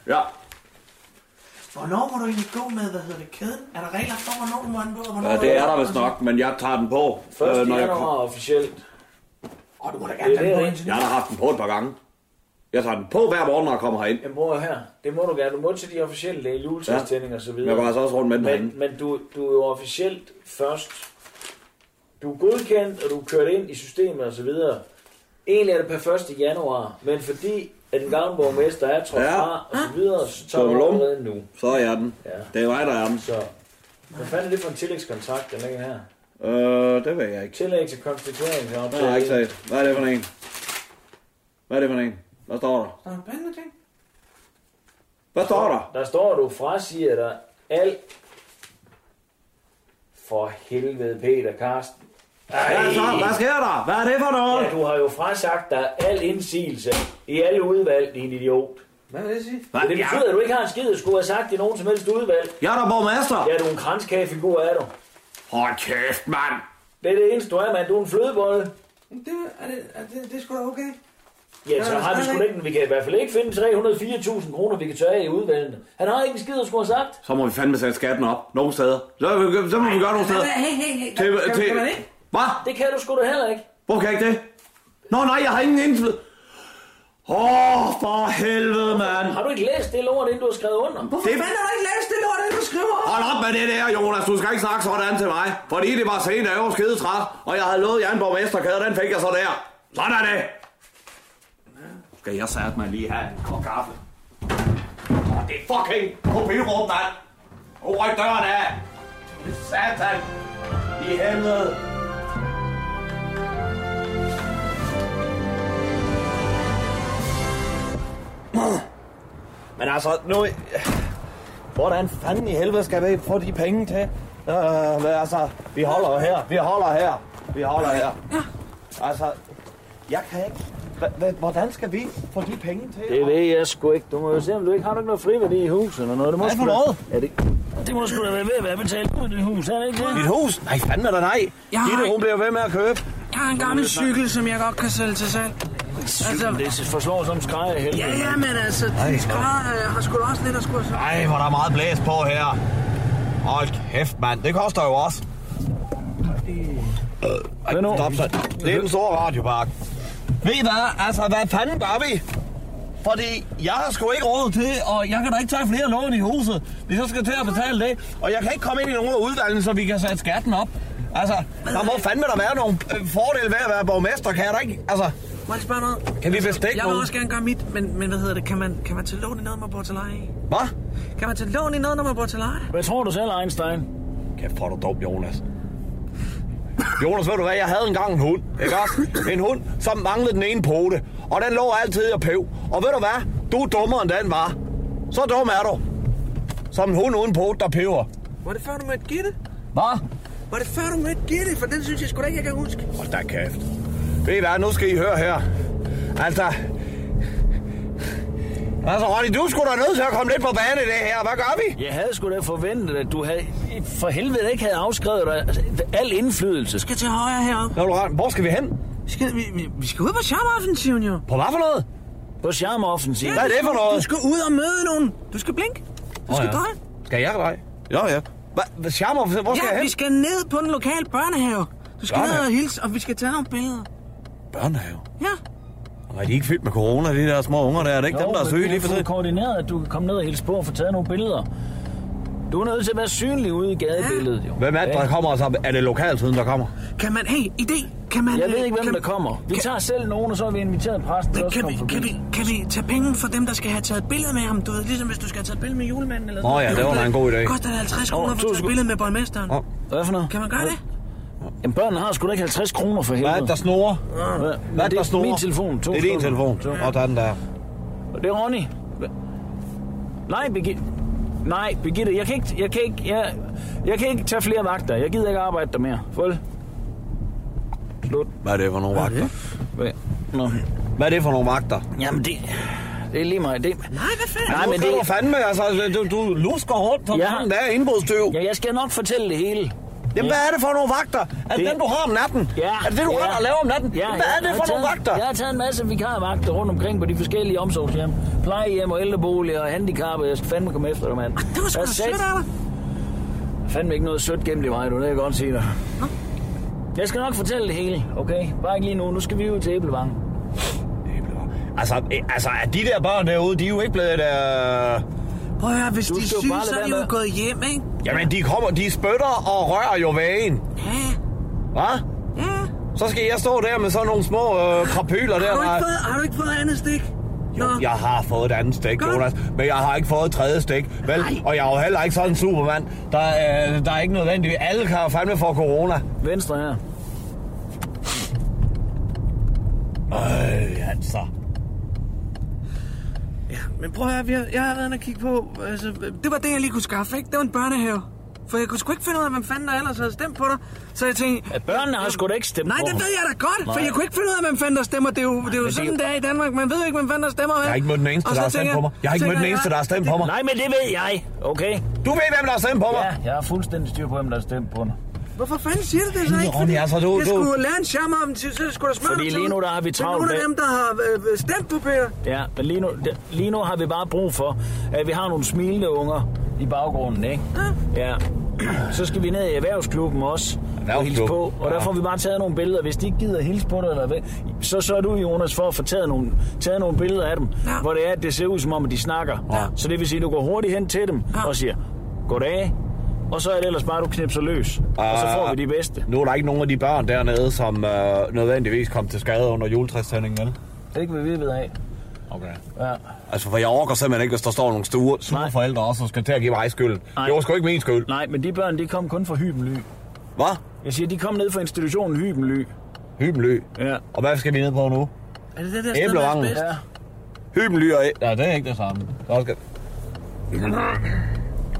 [SPEAKER 10] Ja.
[SPEAKER 9] Hvornår må du egentlig gå med, hvad hedder det, kæden? Er der regler for, hvornår du må gå, og hvornår
[SPEAKER 10] ja, det er der vist nok, men jeg tager den på.
[SPEAKER 5] Første
[SPEAKER 10] øh, når jeg
[SPEAKER 5] januar officielt.
[SPEAKER 9] Åh, du må da
[SPEAKER 5] gerne
[SPEAKER 9] tage den på indtil
[SPEAKER 10] Jeg har da haft den på et par gange.
[SPEAKER 3] Jeg tager den på hver morgen, når jeg kommer herind.
[SPEAKER 5] Jamen bror, her, det må du gerne. Du må til de officielle læge, juletidstænding og så videre.
[SPEAKER 3] Men jeg går altså også rundt med den
[SPEAKER 5] men,
[SPEAKER 3] herinde.
[SPEAKER 5] men du, du er jo officielt først. Du er godkendt, og du er kørt ind i systemet og så videre. Egentlig er det per 1. januar, men fordi at den gamle borgmester er trådt
[SPEAKER 3] Ja.
[SPEAKER 5] fra og så videre, så tager du
[SPEAKER 3] Bum,
[SPEAKER 5] allerede nu.
[SPEAKER 3] Så er jeg den.
[SPEAKER 5] Ja.
[SPEAKER 3] Det er mig, der er den.
[SPEAKER 5] Så. Hvad fanden er det for en tillægskontrakt, der ligger her?
[SPEAKER 3] Øh, det ved jeg ikke.
[SPEAKER 5] Tillæg til konstituering.
[SPEAKER 3] Det har jeg ikke set. Hvad er det for en? Hvad er det for en? Hvad står der?
[SPEAKER 9] Der er en bande ting.
[SPEAKER 3] Hvad står der?
[SPEAKER 5] Der står, at du frasiger dig alt for helvede, Peter Karsten.
[SPEAKER 3] Hvad så? Hvad sker der? Hvad er det for noget?
[SPEAKER 5] Ja, du har jo frasagt dig al indsigelse i alle udvalg, din idiot. Hvad vil det sige?
[SPEAKER 3] Hvad?
[SPEAKER 5] Det betyder,
[SPEAKER 3] Ja.
[SPEAKER 5] at du ikke har en skid, at skulle have sagt i nogen som helst udvalg.
[SPEAKER 3] Jeg er da borgmester.
[SPEAKER 5] Ja, du er en kranskagefigur, er du.
[SPEAKER 3] Hold kæft, mand.
[SPEAKER 5] Det er det eneste, du er, mand. Du er en flødebolle.
[SPEAKER 9] Det er, det, er det, det er sgu da okay.
[SPEAKER 5] Ja, så har vi sgu da ikke... Vi kan i hvert fald ikke finde 304.000 kroner, vi kan tørre af i udvalgene. Han har ikke en skid, at skulle have sagt.
[SPEAKER 3] Så må vi fandme sætte skatten op. Nogle steder. Så, så må vi gøre nogle steder.
[SPEAKER 5] Hey, hey, hey.
[SPEAKER 3] Til- Kan- til- kan man
[SPEAKER 5] ikke?
[SPEAKER 3] Hvad?
[SPEAKER 5] Det kan du sgu da heller ikke.
[SPEAKER 3] Hvorfor kan jeg ikke det? Nå nej, jeg har ingen indflydelse. Åh, oh, for helvede, mand.
[SPEAKER 5] Har du ikke læst det lort, inden du har skrevet under?
[SPEAKER 9] Hvorfor det... fanden har du ikke læst det lort, inden du skriver?
[SPEAKER 3] Hold op med det der, Jonas. Du skal ikke snakke sådan til mig. Fordi det var sent, og jeg var skidetræt. Og jeg havde lovet jer en borgmesterkæde, og den fik jeg så der. Sådan er det. Skal jeg sætte mig lige her en kop kaffe? Åh, det er fucking mobilrum, mand. Og ryk døren af. Satan. I helvede.
[SPEAKER 10] Men altså, nu... Hvordan fanden i helvede skal vi få de penge til? Øh, men altså, vi holder jo her. Vi holder her. Vi holder her. Altså, jeg kan ikke... Hva- hva- Hvordan skal vi få de penge til?
[SPEAKER 5] Det ved jeg sgu ikke. Du må jo se, om du ikke har nok noget friværdi i huset eller noget. Det må
[SPEAKER 10] Hvad
[SPEAKER 5] sgu
[SPEAKER 10] for
[SPEAKER 5] da-
[SPEAKER 10] noget?
[SPEAKER 5] Ja, det, det må sgu da være ved at være betalt ud i dit hus, er det ikke det?
[SPEAKER 10] Dit hus? Nej, fanden er der nej.
[SPEAKER 5] Jeg har
[SPEAKER 10] Gitte, hun
[SPEAKER 5] ikke-
[SPEAKER 10] bliver ved med at købe.
[SPEAKER 9] Jeg har en gammel cykel, som jeg godt kan sælge til salg.
[SPEAKER 5] Altså, det forslår som skræk af helvede.
[SPEAKER 9] Ja, ja, men altså,
[SPEAKER 10] Ej,
[SPEAKER 9] de skrædder øh, har sgu da også lidt at skulle have sagt.
[SPEAKER 10] Ej, hvor er der meget blæs på her. Hold kæft, mand. Det koster jo også. Ej, stop så. Det er den store radiopark. Ved I hvad? Altså, hvad fanden gør vi? Fordi jeg har sgu ikke råd til, og jeg kan da ikke tage flere lån i huset, hvis jeg skal til at betale det. Og jeg kan ikke komme ind i nogen af uddannelser, så vi kan sætte skatten op. Altså, der må fandme der være nogle øh, fordele ved at være borgmester, kan jeg da ikke? Altså,
[SPEAKER 9] Må jeg lige spørge noget?
[SPEAKER 10] Kan vi bestikke
[SPEAKER 9] Jeg vil
[SPEAKER 10] nogen?
[SPEAKER 9] også gerne gøre mit, men, men hvad hedder det? Kan man, kan man tage lån i noget, når man bor til leje i?
[SPEAKER 10] Hvad?
[SPEAKER 9] Kan man tage lån i noget, når man bor til leje?
[SPEAKER 5] Hvad tror du selv, Einstein?
[SPEAKER 10] Kæft, hvor er du dum, Jonas. Jonas, ved du hvad, jeg havde engang en hund, ikke også? En hund, som manglede den ene pote, og den lå altid og pev. Og ved du hvad, du er dummere end den var. Så dum er du. Som en hund uden pote, der pever.
[SPEAKER 9] Var det før, du mødte Gitte?
[SPEAKER 10] Hvad?
[SPEAKER 9] Var det før, du mødte Gitte? For den synes jeg sgu da ikke, jeg kan huske.
[SPEAKER 10] Hold da kæft. Ved I hvad, nu skal I høre her. Altså... Altså, Ronny, du skulle da nødt til at komme lidt på banen i det her. Hvad gør vi?
[SPEAKER 5] Jeg havde sgu da forventet, at du havde, for helvede ikke havde afskrevet dig al indflydelse.
[SPEAKER 9] Skal til højre heroppe.
[SPEAKER 10] Nå, du Hvor skal vi hen?
[SPEAKER 9] Vi skal, vi, vi, vi skal ud på charmeoffensiven, jo.
[SPEAKER 10] På hvad for noget?
[SPEAKER 5] På charmeoffensiven.
[SPEAKER 10] Hvad er det for noget?
[SPEAKER 9] Du skal ud og møde nogen. Du skal blinke. Du skal dreje.
[SPEAKER 10] Skal jeg dreje? Ja, ja. Hvad? Hvad? Charmer? Hvor skal
[SPEAKER 9] ja,
[SPEAKER 10] jeg hen?
[SPEAKER 9] vi skal ned på den lokale børnehave. Du skal ned
[SPEAKER 10] Børnehave?
[SPEAKER 9] og hilse, og vi skal tage nogle billeder.
[SPEAKER 10] Børnehave?
[SPEAKER 9] Ja.
[SPEAKER 10] Og er de ikke fyldt med corona, de der små unger der? Er det ikke
[SPEAKER 5] Jo,
[SPEAKER 10] dem, der er
[SPEAKER 5] men
[SPEAKER 10] syge
[SPEAKER 5] det
[SPEAKER 10] lige for
[SPEAKER 5] fuldt
[SPEAKER 10] tiden?
[SPEAKER 5] koordineret, at du kan komme ned og hilse på og få taget nogle billeder. Du er nødt til at være synlig ude i gadebilledet, jo.
[SPEAKER 10] Hvem er det, der kommer? Altså, er det lokaltiden, der kommer?
[SPEAKER 9] Kan man... Hey, idé. Kan man...
[SPEAKER 5] Jeg
[SPEAKER 9] øh,
[SPEAKER 5] ved ikke, hvem
[SPEAKER 9] kan,
[SPEAKER 5] der kommer. Vi
[SPEAKER 9] kan-
[SPEAKER 5] tager selv nogen, og så har vi inviteret præsten til
[SPEAKER 9] Men
[SPEAKER 5] også
[SPEAKER 9] kan,
[SPEAKER 5] at
[SPEAKER 9] vi,
[SPEAKER 5] komme forbi.
[SPEAKER 9] kan, vi, kan vi tage penge for dem, der skal have taget et billede med ham? Du ved, ligesom hvis du skal have taget et billede med julemanden eller
[SPEAKER 10] Nå ja, det var da en god idé.
[SPEAKER 9] Koster det 50
[SPEAKER 5] Nå,
[SPEAKER 9] kroner
[SPEAKER 5] to
[SPEAKER 9] for at tage et
[SPEAKER 5] sekunder.
[SPEAKER 9] billede med borgmesteren?
[SPEAKER 10] Oh.
[SPEAKER 5] Hvad for noget?
[SPEAKER 9] Kan man gøre det?
[SPEAKER 5] Jamen, børnene har sgu da ikke 50 kroner for helvede.
[SPEAKER 10] Hvad er det, der snorer?
[SPEAKER 5] Hvad,
[SPEAKER 10] Hvad er det, der snorer?
[SPEAKER 5] Min telefon. To
[SPEAKER 10] Det er din
[SPEAKER 5] sekunder.
[SPEAKER 10] telefon.
[SPEAKER 5] To.
[SPEAKER 10] Og der er den der.
[SPEAKER 5] Og Det er Ronny. Hva- Nej, Birgitte. Nej, Birgitte, jeg kan ikke, jeg kan ikke, jeg, jeg kan ikke tage flere vagter. Jeg gider ikke arbejde der mere. Fuld. Slut.
[SPEAKER 10] Hvad er det for nogle vagter?
[SPEAKER 5] Hvad? Nå.
[SPEAKER 10] Hvad er det for nogle vagter?
[SPEAKER 5] Jamen, det, det er lige mig. Det,
[SPEAKER 9] Nej, hvad fanden?
[SPEAKER 5] nej,
[SPEAKER 10] Nu
[SPEAKER 5] men
[SPEAKER 10] skal
[SPEAKER 5] det...
[SPEAKER 10] du fandme, altså, du, du lusker rundt som
[SPEAKER 5] Ja.
[SPEAKER 10] sådan der indbrudstyv.
[SPEAKER 5] Ja, jeg skal nok fortælle det hele.
[SPEAKER 10] Jamen, hvad er det for nogle vagter? Er det
[SPEAKER 5] Det-
[SPEAKER 10] dem, du har om natten?
[SPEAKER 5] Ja,
[SPEAKER 10] Er det det, du
[SPEAKER 5] ja.
[SPEAKER 10] render og laver om natten? Hvad er
[SPEAKER 5] jeg
[SPEAKER 10] det
[SPEAKER 5] har
[SPEAKER 10] for nogle
[SPEAKER 5] taget-
[SPEAKER 10] vagter?
[SPEAKER 5] Jeg har taget en masse vikarvagter rundt omkring på de forskellige omsorgshjem. Plejehjem og ældreboliger og handicappede. Jeg skal fandme komme efter dig, mand.
[SPEAKER 10] Ah,
[SPEAKER 9] Det var sgu
[SPEAKER 5] Jeg
[SPEAKER 9] da
[SPEAKER 5] sagde-
[SPEAKER 9] sødt af dig.
[SPEAKER 5] fandme ikke noget sødt gemt i mig, du. Det kan jeg godt sige dig. Jeg skal nok fortælle det hele, okay? Bare ikke lige nu. Nu skal vi ud til Æblevang.
[SPEAKER 10] Altså, øh, altså, er de der børn derude, de er jo ikke blevet der...
[SPEAKER 9] Prøv at høre, hvis
[SPEAKER 10] Du
[SPEAKER 9] de
[SPEAKER 10] skal jo
[SPEAKER 9] synes,
[SPEAKER 10] bare lade
[SPEAKER 9] så er
[SPEAKER 10] være
[SPEAKER 9] de jo
[SPEAKER 10] med-
[SPEAKER 9] gået hjem, ikke?
[SPEAKER 10] Jamen, de kommer, de spytter og rører jo ved en. Hvad? Så skal jeg stå der med sådan nogle små øh, krapyler der.
[SPEAKER 9] Har du, ikke
[SPEAKER 10] der-
[SPEAKER 9] fået, har du ikke fået andet stik?
[SPEAKER 10] Jo, jeg har fået et andet stik, Jonas, men jeg har ikke fået et tredje stik, vel? Og jeg er jo heller ikke sådan en supermand. Der, øh, der er ikke nødvendigt. Alle kan jo fandme få corona.
[SPEAKER 5] Venstre her.
[SPEAKER 10] Øh, altså.
[SPEAKER 9] Men prøv at høre, vi har- jeg har været inde og kigge på. Altså, det var det, jeg lige kunne skaffe, ikke? Det var en børnehave. For jeg kunne sgu ikke finde ud af, hvem fanden der ellers havde stemt på dig. Så jeg tænkte...
[SPEAKER 5] Ja, børnene har sgu da ikke stemt
[SPEAKER 9] Nej,
[SPEAKER 5] på
[SPEAKER 9] det
[SPEAKER 5] ham.
[SPEAKER 9] ved jeg da godt, for
[SPEAKER 5] Nej.
[SPEAKER 9] jeg kunne ikke finde ud af, hvem fanden der stemmer. Det er jo, det er jo
[SPEAKER 5] men
[SPEAKER 9] sådan,
[SPEAKER 5] det
[SPEAKER 9] det
[SPEAKER 5] er
[SPEAKER 9] er i Danmark. Man ved jo ikke, hvem fanden der stemmer, vel?
[SPEAKER 10] Jeg har ikke mødt den eneste,
[SPEAKER 9] Og så
[SPEAKER 10] der har stemt
[SPEAKER 9] tænker
[SPEAKER 10] på mig. Jeg har ikke mødt den
[SPEAKER 9] tænker
[SPEAKER 10] eneste, der har stemt på mig.
[SPEAKER 5] Nej, men det ved jeg, okay?
[SPEAKER 10] Du ved, hvem der har stemt på mig.
[SPEAKER 5] Ja, jeg har fuldstændig styr på, hvem der har stemt på mig.
[SPEAKER 9] Hvorfor fanden siger du det så ikke?
[SPEAKER 5] Ronny, altså, du-
[SPEAKER 9] jeg
[SPEAKER 5] du-
[SPEAKER 9] skulle lære en charme om, så så skulle der smøre
[SPEAKER 5] Fordi
[SPEAKER 9] dem
[SPEAKER 5] lige
[SPEAKER 9] til.
[SPEAKER 5] nu, der har vi
[SPEAKER 9] Det er
[SPEAKER 5] travlt
[SPEAKER 9] nogle af
[SPEAKER 5] med-
[SPEAKER 9] dem, der har øh, øh, stemt på Peter.
[SPEAKER 5] Ja, men lige nu, det- lige nu har vi bare brug for, at vi har nogle smilende unger i baggrunden, ikke? Ja. Så skal vi ned i erhvervsklubben også og hilse på, og der
[SPEAKER 10] ja.
[SPEAKER 5] får vi bare taget nogle billeder. Hvis de ikke gider hilse på dig, eller hvad, så sørger du, Jonas, for at få taget nogle, taget nogle billeder af dem, ja. hvor det er, at det ser ud som om, at de snakker. Ja. Så det vil sige, at du går hurtigt hen til dem ja. og siger, goddag, og så er det ellers bare, at du knipser løs, og så får vi de bedste.
[SPEAKER 10] Ah. Nu er der ikke nogen af de børn dernede, som øh, nødvendigvis kom til skade under juletræstændingen, vel?
[SPEAKER 5] Ikke hvad vi ved af.
[SPEAKER 10] Okay.
[SPEAKER 5] Ja.
[SPEAKER 10] Altså, for jeg overgår simpelthen ikke, hvis der står nogle store, sure forældre også, som skal til at give mig skylden. Det var sgu ikke min skyld.
[SPEAKER 5] Nej, men de børn, de kom kun fra Hybenly.
[SPEAKER 10] Hvad?
[SPEAKER 5] Jeg siger, de kom ned fra institutionen Hybenly.
[SPEAKER 10] Hybenly?
[SPEAKER 5] Ja.
[SPEAKER 10] Og hvad skal vi ned på nu?
[SPEAKER 9] Er det det der sted, der er
[SPEAKER 10] Æblevangen.
[SPEAKER 9] bedst?
[SPEAKER 10] Ja. Hybenly og... æ- Ja, det er ikke det samme. Der skal...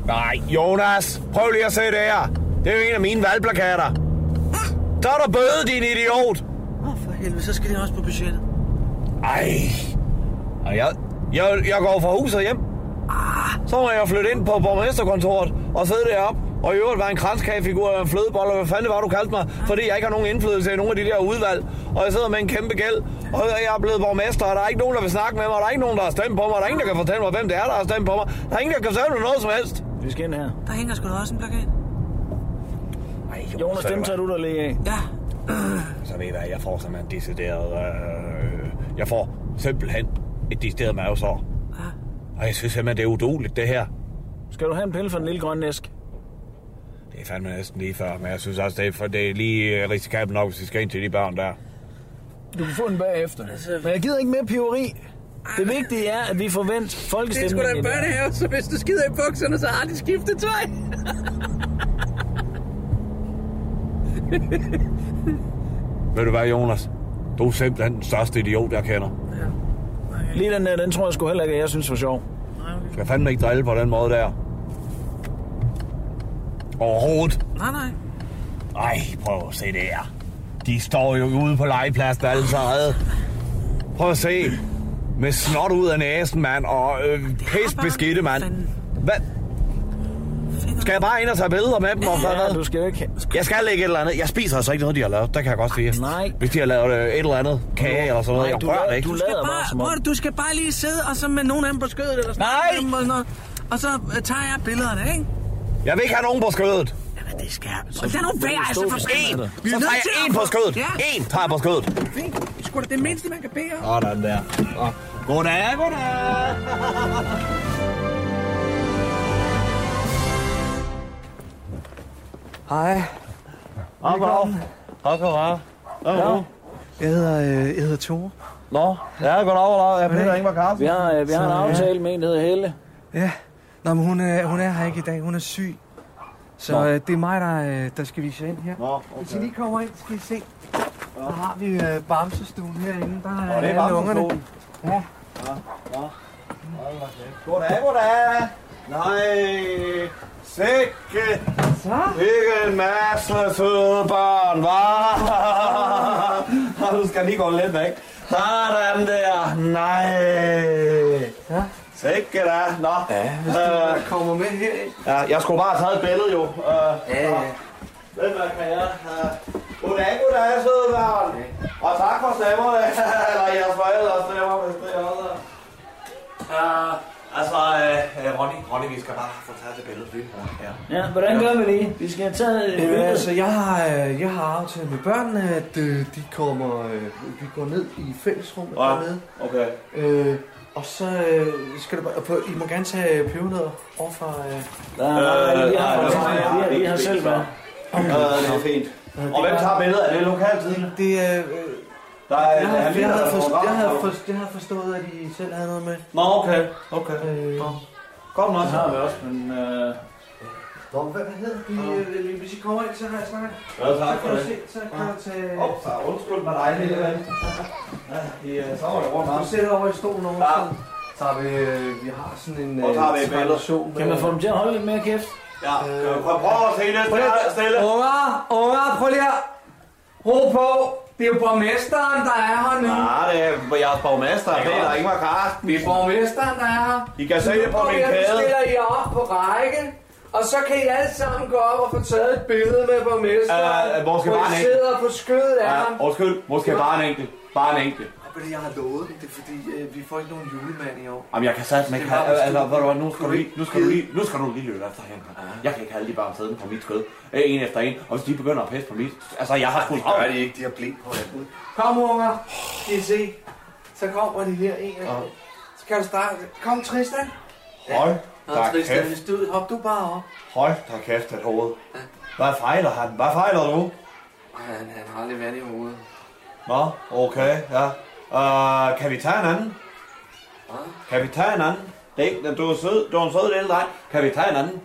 [SPEAKER 10] Nej, Jonas, prøv lige at se det her. Det er jo en af mine valgplakater. Så er der bøde, din idiot!
[SPEAKER 9] Åh, for helvede, så skal de også på budgettet.
[SPEAKER 10] Ej. Og jeg, jeg, jeg går fra huset hjem. Så må jeg flytte ind på borgmesterkontoret og sidde deroppe. Og i øvrigt være en kranskagefigur og en flødebolle, og hvad fanden det var, du kaldte mig, fordi jeg ikke har nogen indflydelse i nogle af de der udvalg. Og jeg sidder med en kæmpe gæld, og jeg er blevet borgmester, og der er ikke nogen, der vil snakke med mig, og der er ikke nogen, der har stemt på mig, og der er ingen, der kan fortælle mig, hvem det er, der har stemt på mig. Der er ingen, der kan fortælle mig noget som helst.
[SPEAKER 5] Vi skal ind her.
[SPEAKER 9] Der hænger sgu da også en plakat.
[SPEAKER 5] Jonas, dem tager du der lige af.
[SPEAKER 9] Ja.
[SPEAKER 10] Så ved I hvad, jeg får simpelthen decideret... Øh, jeg får simpelthen et decideret mavesår. Og jeg synes simpelthen, det er uduligt, det her.
[SPEAKER 5] Skal du have en pille for den lille grønne æsk?
[SPEAKER 10] Det er fandme næsten lige før, men jeg synes også, det er, for det er lige øh, risikabelt nok, hvis vi skal ind til de børn der.
[SPEAKER 5] Du kan få den bagefter.
[SPEAKER 9] Altså-
[SPEAKER 5] Men jeg gider ikke mere piveri. Det vigtige er, at vi får vendt
[SPEAKER 9] Det er sgu
[SPEAKER 5] folkestemningen.
[SPEAKER 9] da en
[SPEAKER 5] i det her.
[SPEAKER 9] børnehave, så hvis du skider i bukserne, så har de skiftet tøj.
[SPEAKER 10] Ved du hvad, Jonas? Du er simpelthen den største idiot, jeg kender.
[SPEAKER 5] Lige den der, den tror jeg sgu heller ikke, at jeg synes var sjov.
[SPEAKER 10] Du Skal fandme ikke drille på den måde der. Overhovedet.
[SPEAKER 9] Nej, nej.
[SPEAKER 10] Ej, prøv at se det her. De står jo ude på legepladsen alle sammen. Prøv at se. Med snot ud af næsen, mand, og øh, pis beskidte, mand. Hvad? Skal jeg bare ind og tage billeder med dem? Og sådan noget?
[SPEAKER 5] du skal ikke...
[SPEAKER 10] Jeg skal lægge et eller andet. Jeg spiser altså ikke noget, de har lavet. Der kan jeg godt sige.
[SPEAKER 5] Nej.
[SPEAKER 10] Hvis de har lavet øh, et eller andet kage eller sådan noget.
[SPEAKER 5] Nej,
[SPEAKER 10] Jeg
[SPEAKER 5] du
[SPEAKER 10] rører
[SPEAKER 5] lader-
[SPEAKER 10] det ikke.
[SPEAKER 5] du
[SPEAKER 9] skal bare, hvor er det, du skal bare lige sidde og så med nogen af dem på skødet eller sådan Nej! Eller noget, og så øh, tager jeg billederne, ikke?
[SPEAKER 10] Jeg vil ikke have nogen på skødet.
[SPEAKER 9] Jamen, det skal jeg. Så lad nu være, altså for
[SPEAKER 10] en.
[SPEAKER 9] fanden. Vi er
[SPEAKER 10] Så
[SPEAKER 9] nødt
[SPEAKER 10] tager
[SPEAKER 9] til
[SPEAKER 10] jeg
[SPEAKER 9] at
[SPEAKER 10] en på
[SPEAKER 9] få-
[SPEAKER 10] skødet.
[SPEAKER 9] Ja,
[SPEAKER 10] En tager jeg på skødet.
[SPEAKER 9] fint. Det er sgu da det mindste, man kan bede om.
[SPEAKER 10] Sådan der. Og Goddag, goddag.
[SPEAKER 3] Hej.
[SPEAKER 10] Op, op. Op, op.
[SPEAKER 3] Ja. Jeg hedder, øh, jeg hedder Tore.
[SPEAKER 10] Nå, ja, goddag, goddag. Jeg er Peter Ingvar Carlsen.
[SPEAKER 5] Vi har, øh, vi har en
[SPEAKER 3] Så, ja.
[SPEAKER 5] aftale med en, der hedder Helle.
[SPEAKER 3] Ja. Nå, men hun, øh, hun er her ikke i dag. Hun er syg. Så
[SPEAKER 5] Nå.
[SPEAKER 3] øh, det er mig, der, øh, der skal vise ind her.
[SPEAKER 10] Nå, okay.
[SPEAKER 3] Hvis I lige kommer ind, skal I se. Der har vi øh, Bamsestuen herinde. Der er,
[SPEAKER 10] Nå, det er
[SPEAKER 3] alle ungerne.
[SPEAKER 10] Bamsestolen.
[SPEAKER 3] Ja.
[SPEAKER 10] Goddag, goddag. Nej, sikke. Ikke en masse søde børn, hva? Du skal lige gå lidt væk. Sådan der. Nej. Ja. Sikke da. Nå. Ja,
[SPEAKER 3] hvis du, øh, kommer med her.
[SPEAKER 10] Ja, jeg skulle bare have taget et billede jo. Øh,
[SPEAKER 3] Ja, ja.
[SPEAKER 10] Hvem er kan jeg? Øh, Goddag, goddag, søde børn. Og tak for stemmerne. Eller jeres forældre stemmer, hvis det er også. Ja, altså, øh, øh, Ronny, Ronny,
[SPEAKER 12] Ronny, vi skal bare få taget det billede lynhurtigt her.
[SPEAKER 5] Ja, hvordan gør vi det? Vi skal have taget et
[SPEAKER 3] Jamen,
[SPEAKER 5] billede.
[SPEAKER 3] altså, jeg har, øh, jeg har aftalt med børnene, at øh, de kommer, øh, vi går ned i fællesrummet
[SPEAKER 8] Ja,
[SPEAKER 3] dernede.
[SPEAKER 8] Ah, okay.
[SPEAKER 3] Øh, og så øh, skal du bare, og på, I må gerne tage pebernødder overfra... Øh,
[SPEAKER 8] Øh, det er fint. Og hvem tager billedet? Er det lokaltidene?
[SPEAKER 3] Det er... Øh,
[SPEAKER 8] der er,
[SPEAKER 3] jeg, har,
[SPEAKER 8] er
[SPEAKER 3] jeg,
[SPEAKER 8] lige-
[SPEAKER 3] havde
[SPEAKER 8] der er
[SPEAKER 3] forstået, jeg, havde
[SPEAKER 8] fotografer.
[SPEAKER 3] forstået, jeg havde forstået, at I selv havde noget med.
[SPEAKER 8] Nå, okay. Okay.
[SPEAKER 3] Øh,
[SPEAKER 8] Godt nok.
[SPEAKER 3] Det har vi
[SPEAKER 8] også, men... Øh...
[SPEAKER 3] Nå, hvad, hvad hedder de? Øh, hvis I kommer ind, så har jeg snakket.
[SPEAKER 8] Ja, tak
[SPEAKER 3] Så
[SPEAKER 8] for
[SPEAKER 3] kan du
[SPEAKER 8] det.
[SPEAKER 3] se, Så kan du tage...
[SPEAKER 8] Op, så undskyld mig dig, lille ven. Ja, i, øh, så var det rundt om.
[SPEAKER 3] Du sætter over i stolen over. Ja. Så har vi, øh, vi har sådan en
[SPEAKER 8] Og tager vi et billede.
[SPEAKER 3] tradition.
[SPEAKER 8] Kan man få dem
[SPEAKER 3] til at holde lidt mere kæft?
[SPEAKER 8] Ja, øh, prøv, prøv at se det stille- stille.
[SPEAKER 3] Unger, unger, prøv lige at ro på. Det er jo borgmesteren, der er her nu.
[SPEAKER 8] Nej, det er jeres borgmester. Det er der Ingvar Karsten.
[SPEAKER 3] Det er borgmesteren, der er her.
[SPEAKER 8] I kan se det på
[SPEAKER 3] Nu går
[SPEAKER 8] min
[SPEAKER 3] jeg, nu
[SPEAKER 8] kæde.
[SPEAKER 3] stiller I jer op på række. Og så kan I alle sammen gå op og få taget et billede med borgmesteren.
[SPEAKER 8] Øh, hvor skal
[SPEAKER 3] hvor I
[SPEAKER 8] barnet hen?
[SPEAKER 3] sidder på skødet af
[SPEAKER 8] Ja,
[SPEAKER 3] ham.
[SPEAKER 8] undskyld. Måske bare en enkelt. Bare en enkelt.
[SPEAKER 3] Og ved du, jeg har lovet dem, det er fordi, øh, vi får ikke nogen julemand i år.
[SPEAKER 8] Jamen, jeg kan satme ikke
[SPEAKER 3] Det er
[SPEAKER 8] have...
[SPEAKER 3] bare
[SPEAKER 8] Altså,
[SPEAKER 3] måske-
[SPEAKER 8] ved du hvad, nu skal du lige, nu skal du lige, nu skal du lige løbe efter hende. Jeg kan ikke have alle de bare siddende på mit skød. Øh, En efter en. Og hvis de begynder at pisse på mit... Altså, jeg har sgu...
[SPEAKER 3] Det
[SPEAKER 8] gør de ikke. De har blik på det.
[SPEAKER 3] Kom, unger. Skal I se. Så kommer de her en af dem. Så kan du starte. Kom, Tristan.
[SPEAKER 8] Hold
[SPEAKER 3] Nå,
[SPEAKER 8] da
[SPEAKER 3] Tristan,
[SPEAKER 8] kæft.
[SPEAKER 3] hvis du, hop du bare op.
[SPEAKER 8] Hold da kæft, et hoved. Hvad fejler han? Hvad fejler du?
[SPEAKER 3] Ej, Han, han har aldrig været i hovedet.
[SPEAKER 8] Nå, okay, ja. Øh, kan vi tage en anden? Kan vi tage en anden? Det er ikke, du er sød, du er en sød lille dreng. Kan vi tage en anden?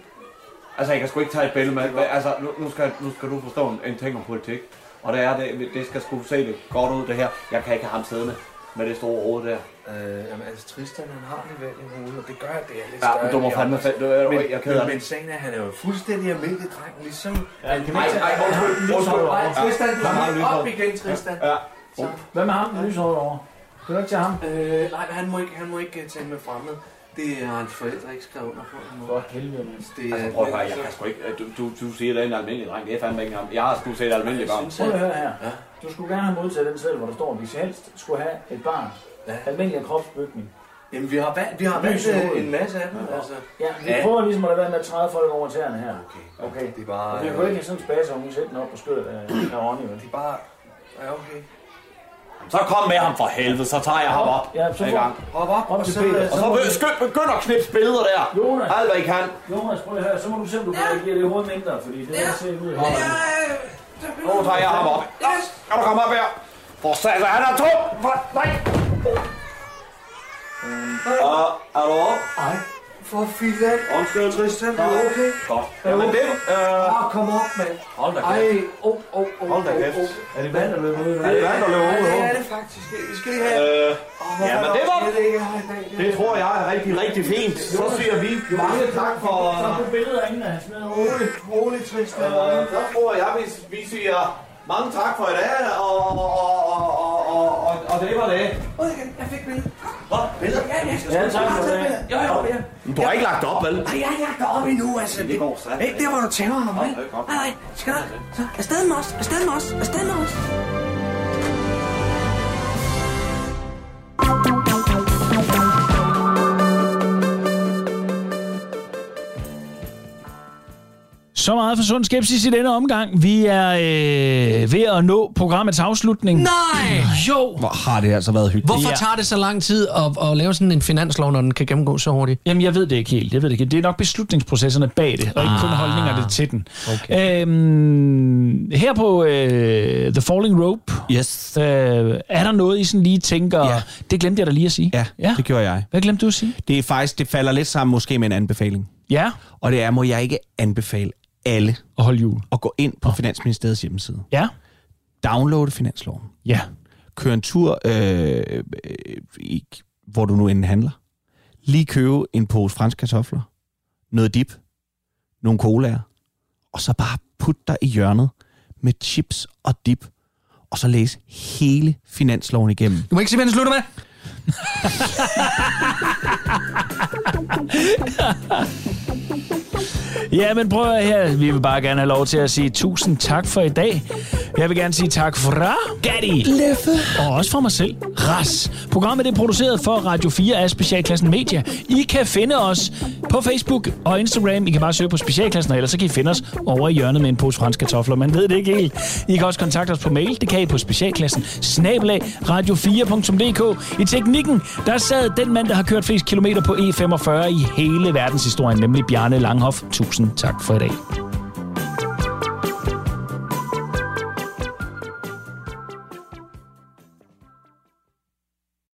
[SPEAKER 8] Altså, jeg kan sgu ikke tage et billede med. men Altså, nu, nu, skal, nu skal du forstå en, en ting om politik. Og det er, det, det skal sgu se det godt ud, det her. Jeg kan ikke have ham siddende med det store hoved der.
[SPEAKER 3] Øh, jamen altså Tristan, han har lidt vand i hovedet, og det gør, at det er lidt
[SPEAKER 8] Ja, men
[SPEAKER 3] større.
[SPEAKER 8] du må
[SPEAKER 3] end de
[SPEAKER 8] fandme
[SPEAKER 3] andre.
[SPEAKER 8] fa- du er-
[SPEAKER 3] men,
[SPEAKER 8] jeg er ked af
[SPEAKER 3] men,
[SPEAKER 8] det.
[SPEAKER 3] men sagen er, han er jo fuldstændig almindelig dreng, ligesom... Ja,
[SPEAKER 8] ej, ej, undskyld, undskyld.
[SPEAKER 3] Ej, Tristan, du
[SPEAKER 8] Ja, han har
[SPEAKER 3] skal
[SPEAKER 8] lyshåret.
[SPEAKER 3] op igen, Tristan.
[SPEAKER 8] Ja, ja.
[SPEAKER 3] Så.
[SPEAKER 2] Hvad med ham, den lyshåret over? Kan du ikke tage ham?
[SPEAKER 3] Øh, nej, han må ikke, han må ikke øh, tale med fremmede. Det har hans forældre ikke skrevet under på. For helvede, mand. Det,
[SPEAKER 8] Altså, prøv at høre, jeg kan sgu ikke... Du, du, du siger, det er en almindelig dreng. Det er fandme ikke en almindelig. Jeg har sgu set almindelige barn.
[SPEAKER 2] Prøv at høre her. Du skulle gerne have modtaget den seddel, hvor der står, at vi helst skulle have et barn. Ja. Almindelig kropsbygning.
[SPEAKER 3] Jamen, vi har valgt, vi har
[SPEAKER 2] Lys i
[SPEAKER 3] valgt, øh,
[SPEAKER 2] hovedet.
[SPEAKER 3] en masse af dem,
[SPEAKER 2] Ja.
[SPEAKER 3] altså.
[SPEAKER 2] Ja, vi
[SPEAKER 3] Ja.
[SPEAKER 2] prøver ligesom at lade være med at træde folk over tæerne her. Okay. okay.
[SPEAKER 3] Det er bare...
[SPEAKER 2] Vi kunne ikke have sådan en spaser, hun sætte den op på skødet af af Ronny, vel? Det er
[SPEAKER 3] bare... Ja, okay.
[SPEAKER 8] Så kom med ham for helvede, så tager jeg ham op.
[SPEAKER 2] Ja, så
[SPEAKER 8] En
[SPEAKER 2] får-
[SPEAKER 8] gang.
[SPEAKER 3] Hop op,
[SPEAKER 2] op
[SPEAKER 8] Og
[SPEAKER 2] til
[SPEAKER 8] så,
[SPEAKER 2] Peter.
[SPEAKER 8] og så
[SPEAKER 2] må
[SPEAKER 8] be-
[SPEAKER 2] du-
[SPEAKER 8] skynd- begynd at knipse billeder der.
[SPEAKER 2] Jonas.
[SPEAKER 8] Alt hvad I kan.
[SPEAKER 2] Jonas, prøv lige at høre, så må du se, om du kan give det hoved mindre, fordi det ja. ser ud af
[SPEAKER 8] Nu tager jeg ham op. Nå, Kan du komme op her? For satan, han er tung. For- Nej. Og er du op?
[SPEAKER 3] Ej, for filan.
[SPEAKER 8] Undskyld.
[SPEAKER 3] Tristan, er du okay?
[SPEAKER 8] Godt. Jamen det... Øh...
[SPEAKER 3] Ah, kom op, mand.
[SPEAKER 8] Hold da
[SPEAKER 3] Ej,
[SPEAKER 8] kæft.
[SPEAKER 3] oh, oh, oh,
[SPEAKER 8] Hold da
[SPEAKER 3] oh,
[SPEAKER 8] kæft.
[SPEAKER 3] oh.
[SPEAKER 8] Er det vand, der løber ud?
[SPEAKER 3] nu?
[SPEAKER 8] Er det vand, der løber
[SPEAKER 3] Ja,
[SPEAKER 8] ud?
[SPEAKER 3] det er det faktisk. Vi skal lige have...
[SPEAKER 8] Øh,
[SPEAKER 3] Åh,
[SPEAKER 8] ja, men det var...
[SPEAKER 3] Det, ikke her i dag.
[SPEAKER 8] Det tror jeg er rigtig, rigtig fint. Så siger vi mange tak for...
[SPEAKER 2] på billeder inden af smider
[SPEAKER 3] Roligt, roligt, Tristan.
[SPEAKER 8] Øh, så tror jeg, vi, vi siger mange tak for i dag, og, og, og, og, og, og, og det var det.
[SPEAKER 3] Ud igen, jeg fik billedet.
[SPEAKER 8] Hvad? Billeder?
[SPEAKER 3] Ja, jeg skal
[SPEAKER 8] Ja,
[SPEAKER 3] sgu
[SPEAKER 8] tak
[SPEAKER 3] bare
[SPEAKER 8] for
[SPEAKER 3] tage
[SPEAKER 8] det.
[SPEAKER 3] billedet. Jo, jo, ja.
[SPEAKER 8] Du har ikke lagt op, vel?
[SPEAKER 3] Nej, jeg har ikke lagt det op endnu, altså.
[SPEAKER 8] Det går sandt.
[SPEAKER 3] Ikke der, hvor du tæver ham, vel? Nej, nej, skal der. Så, afsted med os, afsted med os, afsted med os.
[SPEAKER 2] Så meget for sund skepsis i denne omgang. Vi er øh, ved at nå programmets afslutning.
[SPEAKER 13] Nej!
[SPEAKER 2] Jo!
[SPEAKER 6] Hvor har det altså været hyggeligt.
[SPEAKER 13] Hvorfor tager det så lang tid at, at lave sådan en finanslov, når den kan gennemgås så hurtigt?
[SPEAKER 2] Jamen, jeg ved det ikke helt. Jeg ved det ikke. Det er nok beslutningsprocesserne bag det, og ikke kun
[SPEAKER 13] Ah.
[SPEAKER 2] holdningerne til den. Okay. Øhm, her på øh, The Falling Rope,
[SPEAKER 6] yes.
[SPEAKER 2] øh, er der noget, I sådan lige tænker, ja. det glemte jeg da lige at sige? Ja. ja.
[SPEAKER 6] Det gjorde jeg.
[SPEAKER 2] Hvad glemte du at sige?
[SPEAKER 6] Det er faktisk, det falder lidt sammen måske med en anbefaling.
[SPEAKER 2] Ja.
[SPEAKER 6] Og det er, må jeg ikke anbefale alle
[SPEAKER 2] at holde jul.
[SPEAKER 6] Og gå ind på oh. Finansministeriets hjemmeside.
[SPEAKER 2] Ja.
[SPEAKER 6] Download finansloven.
[SPEAKER 2] Ja.
[SPEAKER 6] Kør en tur, øh, øh, i, hvor du nu end handler. Lige købe en pose franske kartofler, noget dip, nogle colaer, og så bare put dig i hjørnet med chips og dip, og så læs hele finansloven igennem.
[SPEAKER 13] Du må ikke sige, hvad den slutter med.
[SPEAKER 2] Ja, men prøv at høre her. Vi vil bare gerne have lov til at sige tusind tak for i dag. Jeg vil gerne sige tak fra Gatti, Leffe og også fra mig selv, Ras. Programmet er produceret for Radio 4 af Specialklassen Media. I kan finde os på Facebook og Instagram. I kan bare søge på Specialklassen, og ellers så kan I finde os over i hjørnet med en pose franske kartofler. Man ved det ikke helt. I kan også kontakte os på mail. Det kan I på Specialklassen. Snabelag radio4.dk. I teknikken, der sad den mand, der har E kørt flest kilometer på E45 i hele verdenshistorien, nemlig Bjarne Langhoff. Tusind tak for i dag.